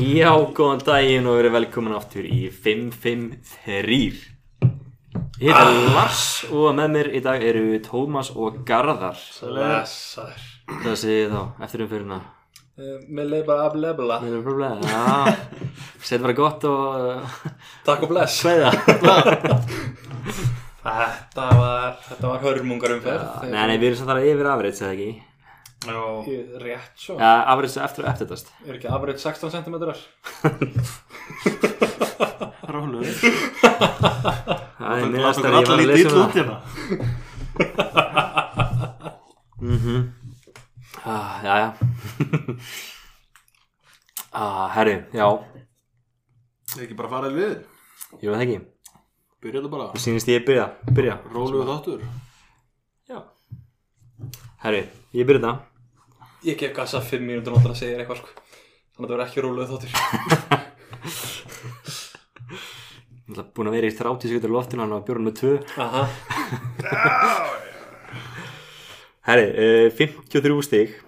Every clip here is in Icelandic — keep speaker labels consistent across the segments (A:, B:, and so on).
A: Já, góðan daginn og verið velkomin aftur í 553 Ég heiti
B: Ah.
A: Lars og með mér í dag eru Tómas og Garðar
C: Blessar
A: Það segir ég þá, eftir um fyrirna
C: Mér leið bara að blebla
A: Það er problem, já Sett bara gott og uh,
C: Takk og bless
A: sveiða
C: Þetta var, þetta var hörmungar um umferð
A: Nei, nei, við erum samt að yfir afrits, eða ekki
C: Jó. Rétt svo
A: Já, afrits eftir og eftir þess
C: Er ekki afrið 16 cm
B: Rólu
A: Það er
B: Láta
A: minnast
B: okkur
A: að ég
B: alla
A: var að
B: lítið
A: lesa
B: ítla
A: um
B: út
A: það
B: hérna
A: Mhm. Ah, Já, já Ah, herri, já,
B: Ekki bara fara við
A: ég veit ekki
B: Byrja þetta bara
A: Sýnist ég byrja, byrja
B: Rólu þáttur
A: Já Herri, ég byrja það
C: Ég gef gassa 5 mínútur náttúrulega að segja þér eitthvað sko Þannig að það verður ekki róluð þáttir
A: Ég ætla búin að vera í 30 sekundur loftinu hann á bjórn með 2
C: Aha
A: Herri, uh, 53 stig uh,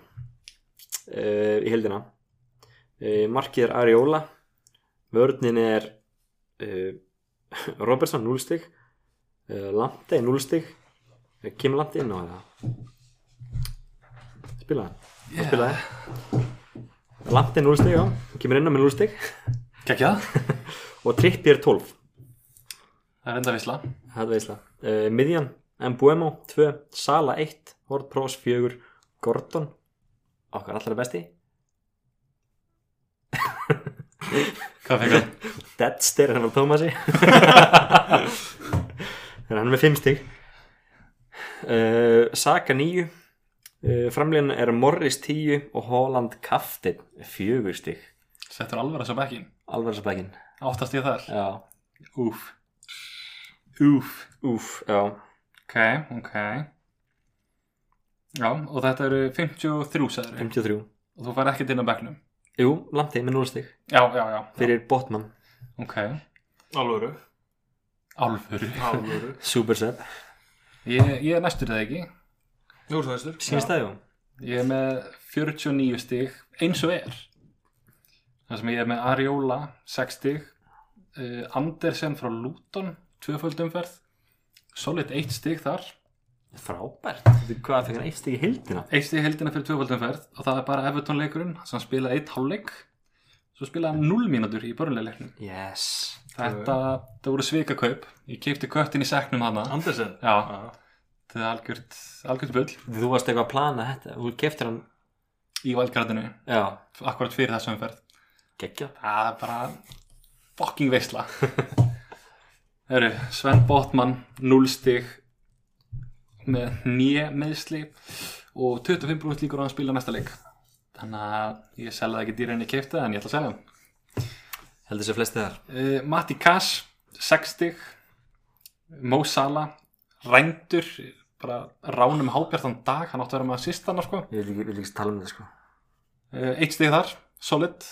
A: í heldina uh, Markið er Ariola Vörnin er uh, Robertson 0 stig uh, Lante 0 stig uh, Kim Lante inn á það Spilaði yeah. Spilaði Lante 0 stig, já Kemur inn á með 0 stig
C: Kekja
A: Og Trippi er 12
C: Það er enda visla
A: Það er veisla. Uh, Midjan, Mbuemo 2, Sala 1, Hort Prós 4, Gordon, okkar allra besti,
C: Hvað fekk hann?
A: Deadster hann á Tómasi. Þannig að hann er með 5 stig. Uh, Saka 9, uh, framlíðan er Morris 10 og Holland Kaftin 4 stig.
C: Settur alveg þessu bekkin
A: Alvarsabækin.
C: Áttast ég þar
A: Já.
C: Úf Úf
A: Úf, já.
C: Ok, ok Já, og þetta eru 53 sæður
A: 53.
C: Og þú fær ekkert inn á bekknum
A: Jú, langt með 0 stig.
C: Já, já, já
A: Fyrir Botman,
C: Ok
B: Alvöru
C: Alvöru
B: Alvöru
A: Supersep.
C: Ég, ég er næstur það ekki
B: Þú ert næstur
A: Sýnst það, jú?
C: Ég er með 49 stig eins og er Það sem ég er með Ariola 6 stig uh, Andersen frá Luton tvöföldumferð Solid 1 stig þar
A: Frábært, Veitu hvað fengur hann eitt stig í hildina
C: 1 stig heldina fyrir tvöföldumferð og það er bara Everton leikurinn sem spilaði 1 hálfleik svo spilaði hann 0 mínútur í börnuleiknum
A: Yes
C: Þetta, þetta voru svikakaup Ég keipti köttin í seknum hana
B: Andersen
C: Já, þetta er algjört, algjört bull
A: Þú varst eitthvað að plana þetta, þú keftir hann
C: í valgrætinu
A: Já,
C: akkurat fyrir þessu umferð
A: geggja
C: Það er bara fucking veisla Heru, Sven Botman 0 stig með nýja meðsli og 25% líkur á að hann spila næsta leik þannig að ég selði það ekki dýra en ég keipti það en ég ætla að selja hann
A: Heldur þessu flesti þar
C: uh, Matti Kass 6 stig Mo Salah rændur bara ránum hábjartan dag hann átti að vera með að sýsta hann sko.
A: Ég vil ekki- vil ekki tala um þetta sko
C: Uh, eitt stig þar, solid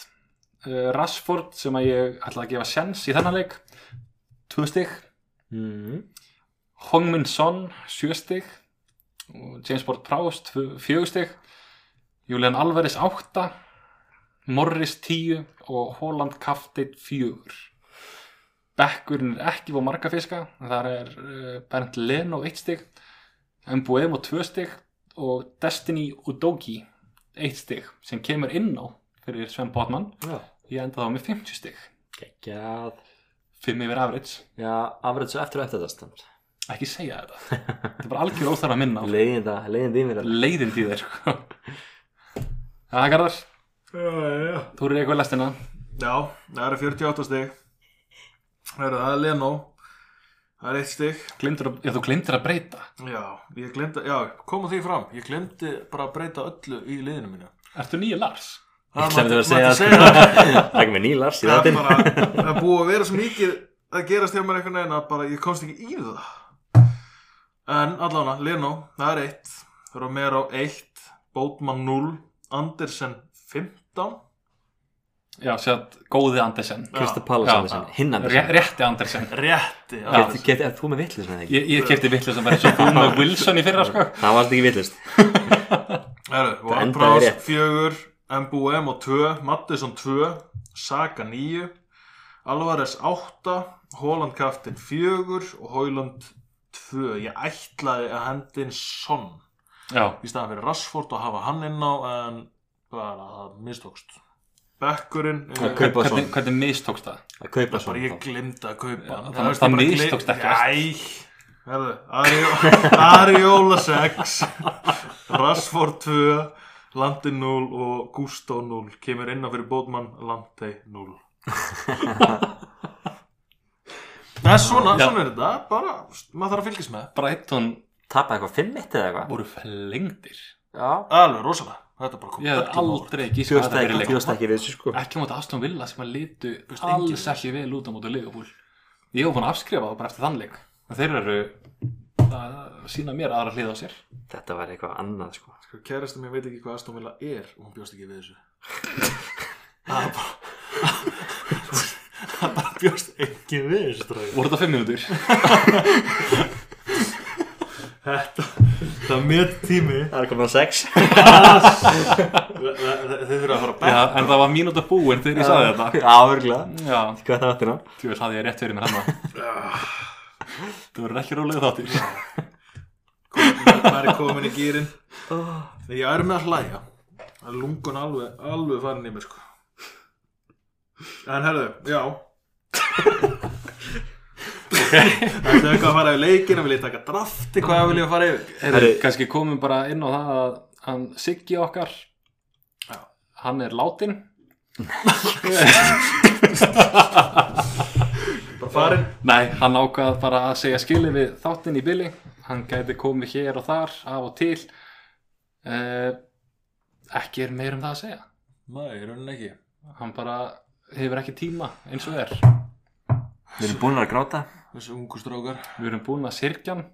C: uh, Rashford sem að ég ætla að gefa sjans í þennan leik tvö stig
B: Mm-hmm.
A: mm.
C: Hongmin Son, sjö stig og James Bort Prowse tvö- fjögur stig Julian Alvarez átta Morris tíu og Holland Kafteit fjögur Bekkurinn er ekki fóð marga fiska þar er uh, Bernd Leno eitt stig Mbuemo tvö stig og Destiny Udogi eitt stig sem kemur inn á fyrir Sven Botman
A: Já,
C: ég enda þá með 50 stig
A: geggjað
C: 5 yfir average,
A: Já, afrætt svo eftir og eftir þetta stund
C: ekki segja þetta þetta er bara algjör óþar að minna á
A: Leiðin það, leiðin því mér
C: leiðind í þeir sko. Það er Garðar,
B: Já, já, já
C: þú eru eitthvað lestina
B: Já, það eru 48 stig Það eru það er Leno Það er eitt stig
C: glimtur, að, já, þú glimtir að breyta
B: Já, ég glemdi Já, koma því fram Ég glemdi bara að breyta öllu í liðinu mínu
C: Ertu nýja Lars?
A: Ég glemdi að segja það,
B: segja það
A: Það er með nýlars í
B: Það er
A: þáttinn
B: bara, það er búið að vera svo mikið að gerast hjá mér einhvern veginn að bara ég komst ekki í það. En allavega, Leno, það er eitt, Romero 1, Bótmann 0, Andersen 15,
C: Já, sér góði Andersen
A: Krista
C: Já,
A: Pallas Andersen,
B: já.
A: hinn
C: Ré,
A: Andersen
C: Rétti Andersen
B: rétti,
C: Já.
B: Andersen.
A: Get- get- Ert þú með vittlust með ekki?
C: Ég, ég kefti vitlega sem verið svo búið með Wilson í fyrra sko.
A: Það varst ekki vittlust
B: Herru,
A: endaði
B: Wardbrás
A: rétt.
B: 4, MBUM og 2, Mattisson 2, Saka 9 Alvarez 8 Holland kaftin 4 og Hauland 2 ég ætlaði að hendi inn Son
C: já,
B: í staðan fyrir Rashford og hafa hann inn á en bara það mistókst Bekkurinn
A: Að
B: eh,
A: kaupa
C: hvernig,
A: svona.
C: hvernig mistókst það
A: að kaupa
B: bara
A: svona
B: ég
A: þá.
B: glimta að kaupa
C: Já,
B: hann.
C: það-
B: veist,
C: það
B: ég bara
C: mistókst
B: gleym-
C: ekkert.
B: Æ, herðu, Ario- Ariola 6 Rashford 2 Landi 0 og Gusto 0 kemur inn á fyrir Bótmann Landi 0 Það er svona,
C: Já.
B: svona er þetta bara, maður þarf að fylgjast með
C: Brighton
A: tapa eitthvað 5-1 eða eitthvað
C: voru flengdir
A: já,
B: alveg rosalega, þetta bara kom
C: ég hef
B: öllum á óvart.
C: aldrei gíska
A: bjóst ekki, bjóst ekki við þessu sko
C: ekki á móti Aston Villa sem að litu
B: Veist, enginn
C: alls
B: við.
C: ekki vel út á móti Liverpool ég hef búin að afskrifa það bara eftir þannleik en þeir eru að sína mér aðra hlið á sér
A: þetta var eitthvað annað sko
B: Sko, kærasta mér veit ekki hvað Aston Villa er og hún bjóst ekki við þessu það er bara það bara bjóst ekki við þessu strákar.
C: voru þetta fimm minútur
B: þetta það er mitt tími
A: það er komin að 6
B: Þe- þe- þe- þið þurfa að fara
C: Já,
B: bætt
C: en það var mínúta búin þegar ég sagði þetta
A: já, örgulega
C: já,
A: hvað það áttir á
C: þú veist, hafði ég rétt fyrir mér hann þú verður ekki rólega þáttir
B: maður er komin í gýrin ég er með að hlæja það er lungun alveg, alveg farin í mér sko en herðu, já Það er eitthvað að fara í leikina, vil ég taka drafti, hvað vil ég fara yfir?
C: Herri, kannski komum bara inn á það að hann Siggi okkar
B: Já.
C: hann er látin
B: Bara farin?
C: nei, hann ákvað bara að segja skilið við þáttinn í bili hann gæti komið hér og þar af og til eh, ekki er meir um það að segja
B: Nei, í rauninni ekki.
C: hann bara hefur ekki tíma eins og er
A: við erum búin að gráta
B: Þessi ungu strákar.
C: við erum búin að sirkja hann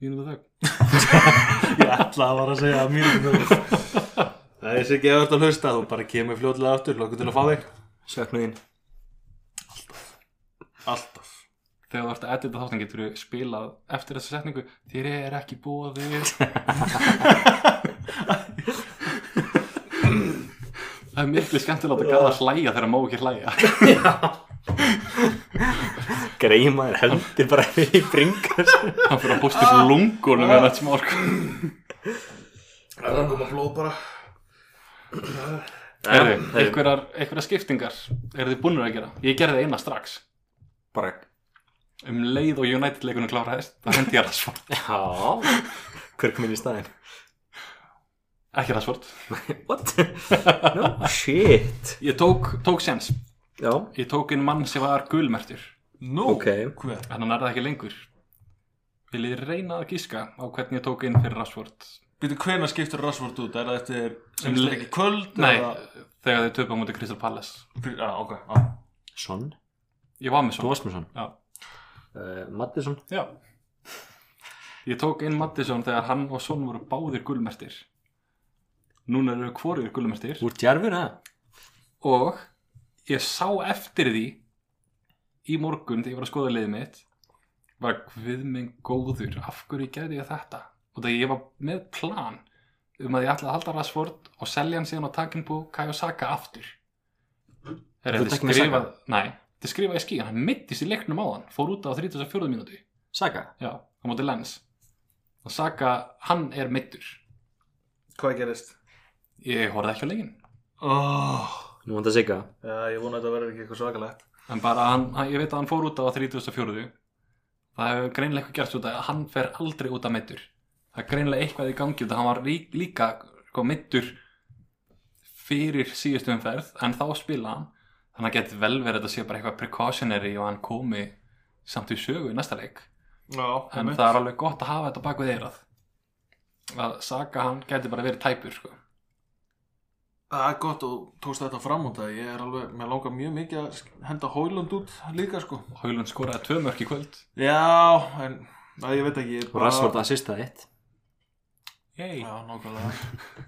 C: mínúta þögn
B: Ég ætla að vara að segja að mínum það. Það er sér ekki eftir að hlusta, þú bara kemur fljótlega aftur, lokku til að fá þig.
A: söknuðin
B: Alltaf.
C: þegar þú ert að edita þáttan getur þú spilað eftir þessa setningu þér er ekki bóðið það er miklu skemmtilegt að gæða að hlæja þegar má ekki hlæja
A: greima er heldur bara í bringar
C: hann fyrir að posta þessu lungunum með þetta smá sko.
B: Það er að koma blóð bara.
C: Herri, einhverjar, einhverjar skiptingar eru þið búinur að gera ég gerði eina strax
A: bara
C: um leið og United leikunum kláraðist það hendi ég Rashford
A: já hver kom inn í staðin
C: ekki Rashford
A: what no shit
C: ég tók, tók sens
A: já
C: ég tók inn mann sem var gulmertur
B: Nú,
A: Ok.
B: hver?
C: En hann er það ekki lengur. Viljið þið reyna að gíska á hvernig ég tók inn fyrir Rashford?
B: Býtu, hvena skiptir Rashford út? Er það eftir
C: Um
B: sem
C: le-
B: stið ekki kvöld?
C: Nei,
B: eða-
C: þegar þið töpa mútið Crystal Palace.
B: Fyrir- Já, ok. já.
A: son
C: Ég var með
A: þú
C: svo.
A: varst með son
C: Já.
A: uh, Mattisson
C: Já. Ég tók inn Mattisson þegar hann og Son voru báðir gulmertir. Núna eru hvorir gulmertir.
A: úr djarfur ha
C: Og ég sá eftir því í morgun þegar ég var að skoða liðið mitt var við minn góður, af hverju gerði ég þetta? Og það ég var með plan um að ég ætlaði að halda Rashford og selja hann síðan á takin på Kajosaka aftur. Þegar
A: Þú
C: þetta
A: ert ekki með
C: skrifa, nei, þetta skrifa í skíin, hann mittist í leiknum á hann, fór út á 34 mínúti,
A: Saga
C: já, á móti Lens. Og Saka, hann er mittur.
B: Hvað gerist?
C: Ég horfði ekki á leikin.
B: Oh.
A: nú vant að sigga
B: Já, ég vona að þetta verður ekki eitthvað svakalegt.
C: En bara hann, hann- ég veit að hann fór út á 34. Það hefur greinilega eitthvað gerst út að hann fer aldrei út að meittur. Það er greinilega eitthvað í gangi út að hann var rík, líka sko, meittur fyrir síðustu umferð en þá spila hann. Þannig að geti vel verið að þetta sé bara eitthvað precautionary og hann komi samt í sögu í næsta leik.
B: Já,
C: En það er alveg gott að hafa þetta bak við eirað. Að Saka hann geti bara verið tæpur sko.
B: Það er gott og tókst þetta fram út að ég er alveg, mér langar mjög mikið að sk- henda Hólund út líka sko.
C: Haulund skoraði tvö mörk í kvöld.
B: Já, en að ég veit ekki, ég er
A: og
B: bara...
A: Rashford assista eitt
C: Yay.
B: Já, nákvæmlega.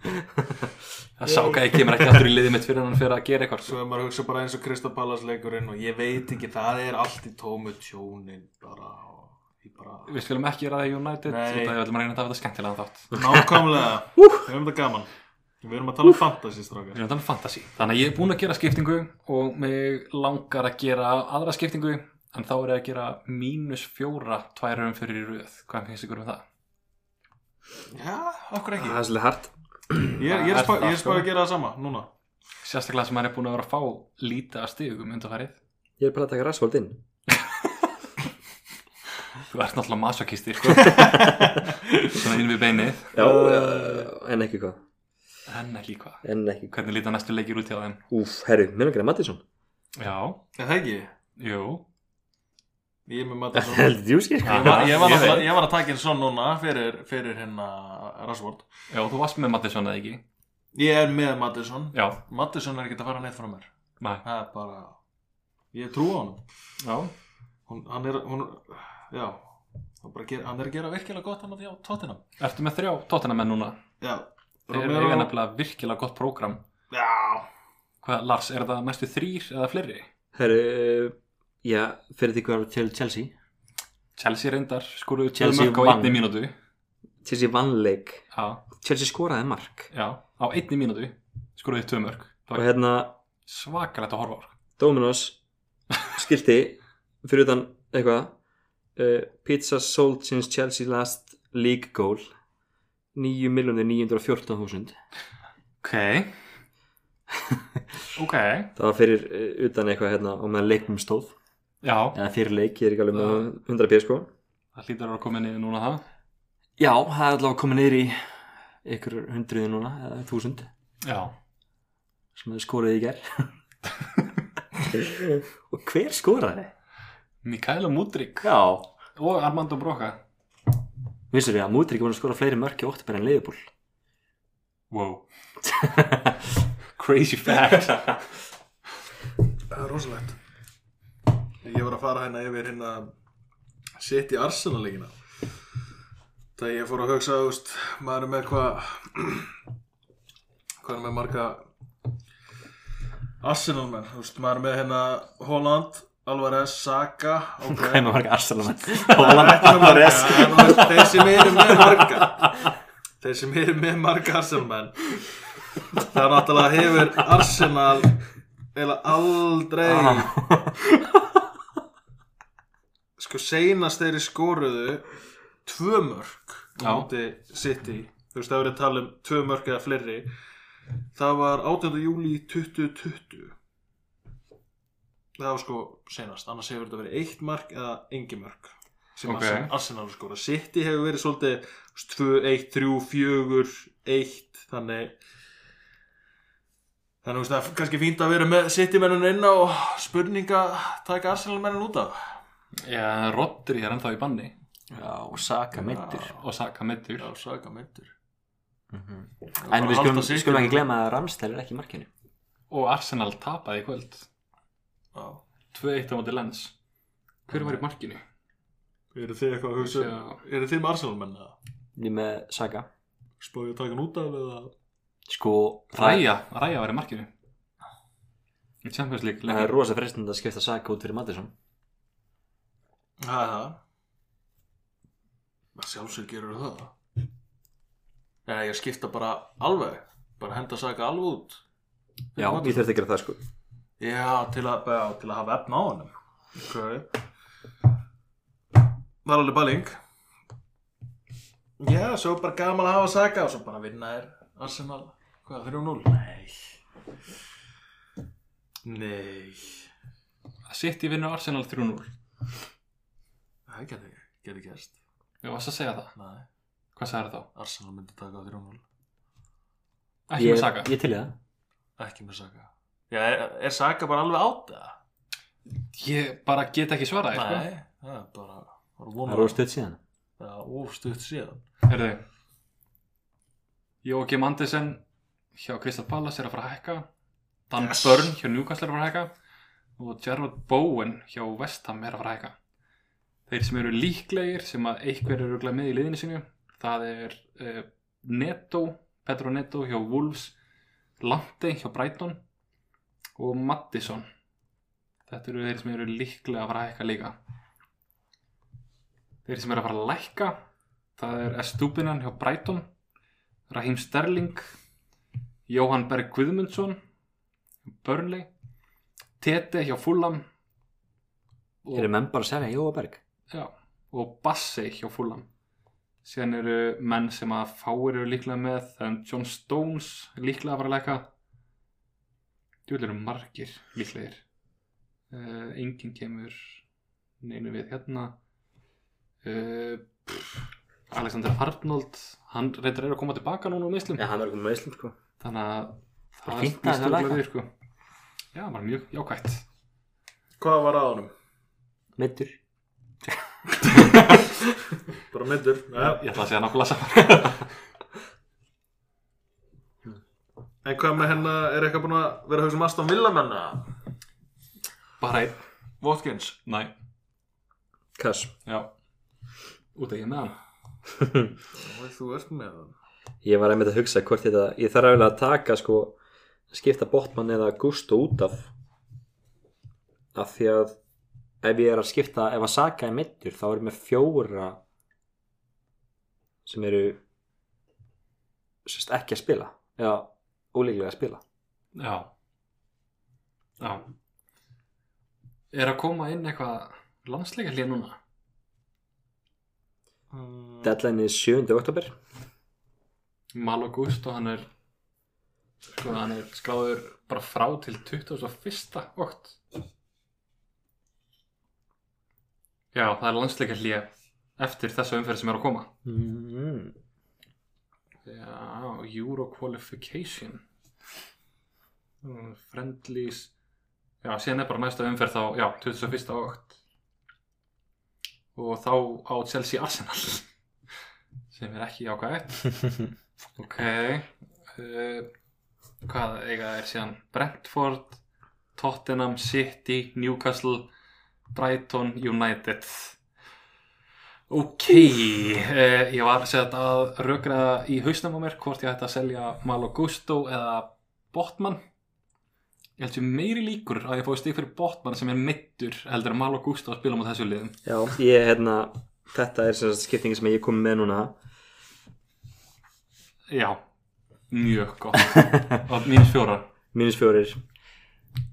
C: Það sákaði kemur ekki aftur í liðið mitt fyrir en hann fyrir að gera eitthvað. sko.
B: Svo ef maður hugsa bara eins og Kristapalas leikurinn og ég veit ekki, það er allt í tómu tjónin bara og ég bara...
C: Við skulum ekki ræða United
B: Nei.
C: Nei. út af því að við ætlum að reyna þetta að hafa þetta skemmtilega þátt
B: Nákvæmlega, við höfum þetta gaman. Við erum að tala um fantasy strákar
C: Við erum að tala um fantasy. Þannig að ég er búinn að gera skiptingu og mig langar að gera aðra skiptingu en þá er ég að gera mínus fjóra tværum fyrir í röð. Hvað finnst ykkur um það?
B: Já, okkur
A: Það er svolítið hart
B: Ég er, ég er
C: Það er það,
B: spáð að
C: sko.
B: gera það sama núna
C: Sérstaklega sem hann er búinn að vera að fá lítið að stigum undanfærið.
A: Ég er bara að taka rassvöld inn
C: Þú ert náttúrulega masokistir, sko. Svona inn við beinið.
A: Já,
B: Uh.
A: Eh, en ekki hvað
C: En ekki hvað.
A: En ekki hvað
C: Hvernig líta næstu leikir út hjá þeim?
A: Úf, herru, mér langar að Mattisson
C: Já,
B: Er það ekki?
C: jú.
B: Ég er með maður svona
A: Heldur sko. þú skil
C: Já.
B: Ég var, ég, var
C: Ég
B: ég,
C: veit.
B: ég var að taka einn svo núna fyrir, fyrir hérna Rashford
C: Já, þú varst með Mattisson eða ekki?
B: Ég er með Madison
C: Já,
B: Madison er ekki að fara neitt frá mér
C: næ.
B: Það er bara Ég trú á honum
C: Já.
B: hún, Hann er hún, Já hann, bara ger, hann er að gera virkilega gott hann á því á tóttinam
C: Ertu með þrjá tóttinamenn núna?
B: Já
C: Þeir eru eiga nefnilega virkilega gott prógram.
B: Já
C: Hvað, Lars, er það næstu þrýr eða fleiri?
A: Herru, uh, já, fyrir því hvað er til Chelsea
C: Chelsea reyndar skoruðu
A: Chelsea
C: Chelsea mörg á
A: vann.
C: einni mínútu
A: Chelsea vannleik
C: já,
A: Chelsea skoraði mark
C: já, á einni mínútu skoruðu tvö mörg
A: Og
C: það var
A: hérna,
C: svakalegt að horfa á
A: Dominos skilti Fyrir utan eitthvað uh, Pizza sold since Chelsea last league goal 9.914.000
C: ok ok,
A: Það var fyrir uh, utan eitthvað hérna og meðan leikum stóð
C: já
A: eða fyrir leik, ég er ekki alveg með 100 p sko
C: það hlýtar að vera komin niður núna það
A: Já, það er allavega komið niður í ykkur hundruði núna eða þúsund
C: já,
A: sem þau skoraði í ger Og hver skoraði?
C: Mikaela Mudrik
A: Já
C: og Armando Broca
A: Vissur þið að Mútrik voru að skora fleiri mörki í óttubæri en Leifupúl
C: wow crazy fact
B: Það er rosalegt Ég var að fara hérna yfir hérna Sitt í Arsenal-leikina Það ég fór að hugsa úst, Maður er með hvað Hvað er með marga Arsenal-menn úst, Maður er með hérna Holland, Alvarez, Saka okay.
A: Hvað er með marga Arsalamenn?
B: Það er ekki með marga
A: Alvarez.
B: en þú veist, Þeir sem eru með marga Þeir sem eru með marga Arsenal-menn Það er náttúrulega hefur Arsenal eða aldrei
A: Ah.
B: sko seinast þeirri skoruðu tvö mörg
C: Já.
B: múti City þú veist það verið að tala um tvö mörg eða fleiri það var 18. júli 2020 það var sko seinast annars hefur þetta verið eitt mörg eða engi mörg sem
C: Ok.
B: okay. Arsenal skora City hefur verið svolítið þú veist, 2, 1, 3, 4, 1 þannig Þannig að það er kannski fínt að vera með sittimennun inn á spurninga taka Arsenal-mennun út af.
C: já, Rodri er ennþá í banni
A: Já, og Saka meittur
C: og Saka meittur
B: Já, saga myndur.
A: Mhm. En við skulum, skulum ekki glemma að Ramstæl er ekki í markinu
C: og Arsenal tapaði í kvöld
B: Já.
C: 2-1 á móti lens hver var í markinu?
B: Eru þið eitthvað að hugsa? um-
C: Já.
B: Eru þið með Arsenal-menn að
A: Ég er með Saka
B: spáði að taka hann út af eða?
A: Sko,
C: Ræja, Ræja var í markinu í Champions League
A: Það er
C: leikinn.
A: rosa frestund að skipta Saka út fyrir Mattisson
B: Það er það. Það sjálfsög gerur það. Nei, ég skipta bara alveg. Bara henda saga alveg út.
A: Já, ég þurfti að gera það sko
B: Já, til að, já, til að hafa efna á honum Ok Var alveg bæling Já, svo bara gaman að hafa saka og svo bara vinna þér Arsenal, hvað, 3-0? Nei Nei
C: City vinnur Arsenal 3-0
B: Það geti, geti gerst
C: Ég varst að segja það,
B: Nei,
C: hvað sagði þá?
B: Arsenal myndi taka 3-0
C: Ekki
A: Ég-
C: með Saka
A: Ég til í það
B: Ekki með saka Já, er, er saka bara alveg átt eða?
C: Ég bara get ekki svarað sko.
B: Nei, það er bara Það er
A: Það
B: vonar
A: er rosa stutt síðan
B: Það er óstutt síðan
C: Herðu Jókim Andersen hjá Crystal Palace er að fara að hækka Dan
B: Yes.
C: Burn hjá Newcastle er að fara að hækka og Gerard Bowen hjá West Ham er að fara að hækka Þeir sem eru líklegir sem að einhver eru örugglega með í liðinu sinu það er uh, Neto Petro Neto hjá Wolves Lante hjá Brighton og Maddison Þetta eru þeir sem eru líklega að fara að hækka líka Þeir sem eru að fara að lækka Það er Estupinan hjá Brighton Raheem Sterling Jóhann Berg Guðmundsson Burnley Tete hjá Fulham og,
A: Eru menn bara að selja Jóa Berg?
C: já, og Bassi hjá Fulham síðan eru menn sem að fáir eru líklega með en John Stones er líklega að fara að leka djúlega eru margir líklegir uh, enginn kemur neinu við hérna uh, Alexander Arnold hann reyndar er að koma tilbaka núna á mislum
A: Já, hann er okkur með Ísland sko
C: þannig að
A: Bara
C: það
A: fínt að
C: snýst
A: það lækka.
C: örugglega við, sko. já, bara mjög jákvætt
B: Hvað var að honum?
A: Meittur
B: Bara middur ja.
C: ég ætla að segja nákvæmlega saman
B: En hvað með hennar, er eitthvað búin að vera að hugsa um Aston Villa menna?
C: bara einn,
B: Watkins
C: næ,
A: Kass
C: já út að ég með hann
B: Ó, Þú ert með hann
A: Ég var einmitt að hugsa hvort þetta Ég þarf eiginlega að taka sko skipta Botman eða Gusto út af af því að ef ég er að skipta ef að Saka er meittur þá erum við fjóra sem eru sérst ekki að spila eða ólíklega að spila
C: já já er að koma inn eitthvað landsleika hlýja núna
B: Mm,
A: Deadline er 7. oktober
C: Mal og Gust og hann er sko hann er skráður bara frá til 21. okt já, það er landsleika hlýja eftir þessa umferð sem er að koma
A: mm.
C: Já, Euro Qualification Mm, Friendlies Já, síðan er bara næsta umferð þá Já, 21. átt Og þá á Chelsea Arsenal sem er ekki ákvæmt Ok uh, Hvað eiga er síðan Brentford, Tottenham City, Newcastle Brighton, United Ok, eh, ég var sett að rökraða í hausnum á mér hvort ég ætti að selja Malo Gusto eða Botman. Ég held sem meiri líkur að ég fóði stig fyrir Botman sem er mittur heldur en Malo Gusto að spila á þessu liðum.
A: Já, ég hérna þetta er sérst skiptingin sem ég kom með núna
C: Já, mjög gott. Og mínus fjóra.
A: mínus fjórir,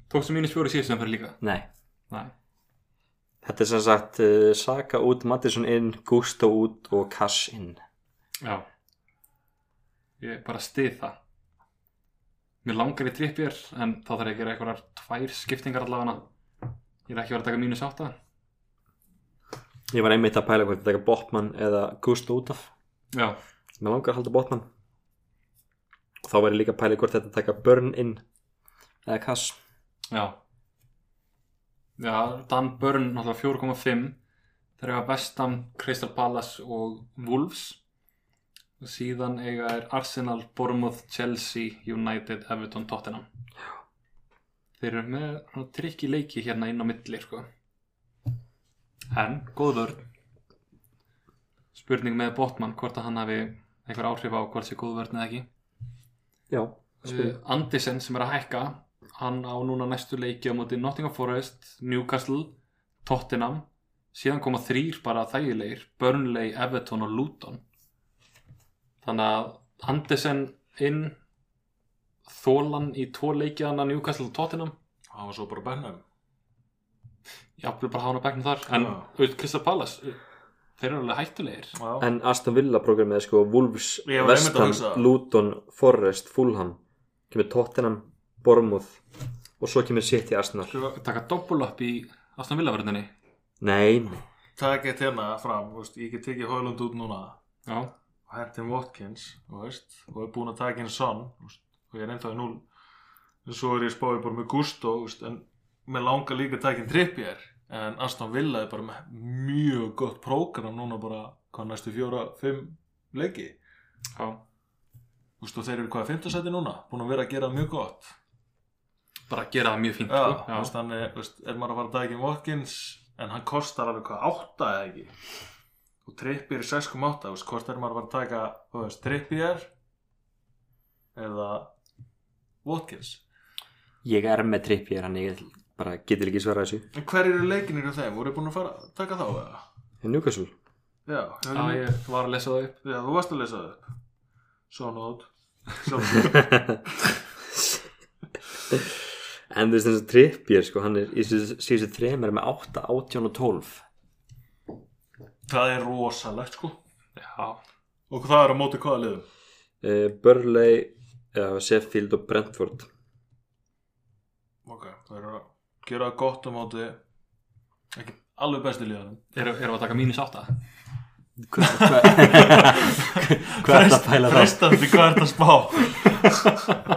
C: Tókstu mínus fjóra í síðustum fyrir líka?
A: nei
C: Nei.
A: Þetta er sem sagt uh, Saka út, Mattisson inn, Gusto út og Cash inn.
C: Já. Ég bara stið það. Mér langar í trippjör en þá þarf ég að gera einhverjar tvær skiptingar allavega. Ég er ekki að vera að taka mínus átta.
A: Ég var einmitt að pæla hvort að taka Botman eða Gusto út af.
C: Já.
A: Mér langar að halda Botman. Og þá var ég líka að pæla hvort þetta að taka Burn inn eða Cash.
C: Já Já, Dan Burn náttúrulega 4,5 Þeir eiga Vestam, Crystal Palace og Wolves og síðan eiga er Arsenal, Bournemouth, Chelsea, United, Everton, Tottenham Þeir eru með svona trikki leiki hérna inn á milli sko. en góð vörn spurning með Botman hvort að hann hafi einhver áhrif á hvort sé góð vörn eða ekki
A: Já,
C: uh,
A: spil.
C: Andisen sem er að hækka hann á núna næstu leiki á móti Nottingham Forest, Newcastle Tottenham, síðan koma þrýr bara þægilegir, Burnley, Everton og Luton þannig að Andisen inn þólan í tvo leiki hann að Newcastle og Tottenham
B: Hann var svo bara bennum
C: jafnvel bara hafa hann að bekna þar en
B: Já.
C: auðvitað Crystal Palace uh, þeir eru alveg hættulegir
B: Já,
A: En Aston Villa programmið er sko Wolves,
B: Mm. Ég var einmitt að
A: Vestham,
B: hugsa það.
A: Luton, Forrest, Fulham, kemur Tottenham, Bournemouth og svo kemur City Arsenal.
B: Skrifa-
C: taka doppul upp í Aston Villa verðinni
A: Nei, nei.
B: Takk eitt hérna fram, þú veist, ég get tekið Hólund út núna
C: já,
B: og hentin Watkins, þú veist og er búin að taka inn Son þú veist, og ég er ennþá í núl en svo er ég spáið bara með Gusto þú veist, en mér langar líka að taka inn Trippier en Aston Villa er bara með mjög gott prógram núna bara hvað næstu fjóra, fimm leiki
C: já,
B: þú veist, og þeir eru hvað fimmtasæti núna búin að vera að gera mjög gott
C: bara gera það mjög fínt
B: Já,
C: sko.
B: þú veist, hann er, þú veist, er maður að fara að dækja um Watkins en hann kostar alveg hvað, 8 eða ekki og trippir er 6,8 þú veist, hvort er maður að fara að taka, þú veist, trippir eða Watkins
A: Ég er með trippjér hann, ég bara getur ekki svarað þessu.
B: En hver eru leikinir um þeim? Voru búin að fara að taka þá eða?
A: Newcastle.
B: Já,
C: já, ég var að lesa það upp
B: já, þú varst að lesa það upp Svo nót Sjálfsagt.
A: En þú veist þess að Trippier sko, hann er í síðustu þremur með 8, 18 og 12
B: Það er rosalegt sko
C: Já,
B: Og það er á móti hvaða liðum
A: uh, Burley, uh, Sheffield og Brentford
B: Ok, það er að gera það gott á móti Ekki alveg bestu liðanum
C: eru, eru að taka mínus átta
A: Hvað hva er það að pæla það?
B: Frestandi, hvað er það að spá?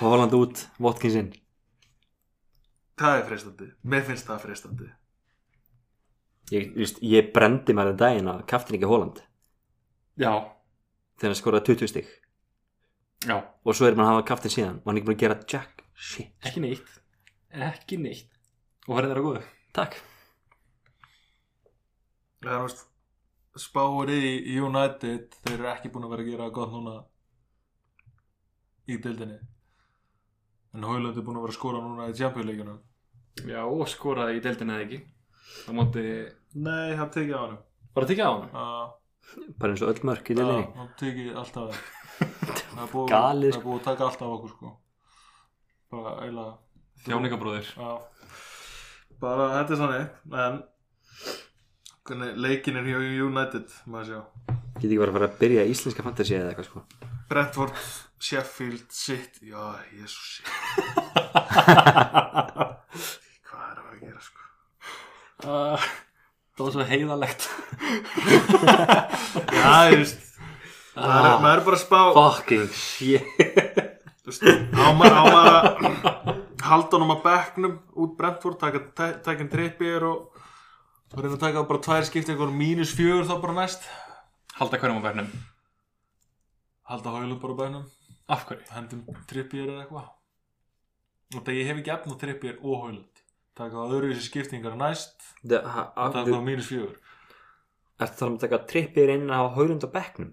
A: Holland út, Watkins inn
B: Það er frestandi, mér finnst það frestandi
A: Ég, þú veist, ég brendi mér en daginn að kaftin ekki Holland
C: Já,
A: þegar hann skoraði 20 stig
C: já,
A: og svo er maður að hafa kaftin síðan og hann er ekki búin að gera jack shit,
C: ekki neitt Ekki neitt Og verður þeirra góðu
A: takk
B: Það er veist Spáir í United Þeir eru ekki búin að vera að gera það gott núna Í dildinni En Hauland er búin að vera að skora núna í Champions-leikjunum
C: Já, og skoraði í deildinni eða ekki Það móti,
B: Nei, það tekið á hann
C: var það tekið á hann?
B: uh,
A: bara eins og öll mörk í delinni
B: Það tekið alltaf af þeim. Það er búið,
A: Galið,
B: það er búið að taka alltaf okkur sko Bara eiginlega
C: Þjáningabróðir
B: Já Bara þetta er sannig En Hvernig leikin er hjá United Maður sjá
A: get ekki bara að fara að byrja í íslenska fantasy eða eitthvað sko
B: Brentford, Sheffield, City Já, jésus Hvað er að vera að gera sko
C: uh, Það var svo heiðalegt
B: Já, ég veist Maður er, maður er bara að spá
A: fucking shit
B: Þú veist, Ámar, ámar að halda honum að bekknum út Brentford taka, tæ- taka en trippir og og reyna að taka bara tvær skipti eitthvað mínus fjögur þá bara næst
C: Halda hverjum á bernum
B: halda hauglu bara á bænum
C: Af hverju?
B: hendum trippir eða eitthvað og það ég hef ekki efn á trippir og hauglut taka á öðruvísi skiptingar næst
A: The, ha, ha,
B: taka á mínus fjögur
A: Ertu þá að taka trippir inn á haulund á bekknum?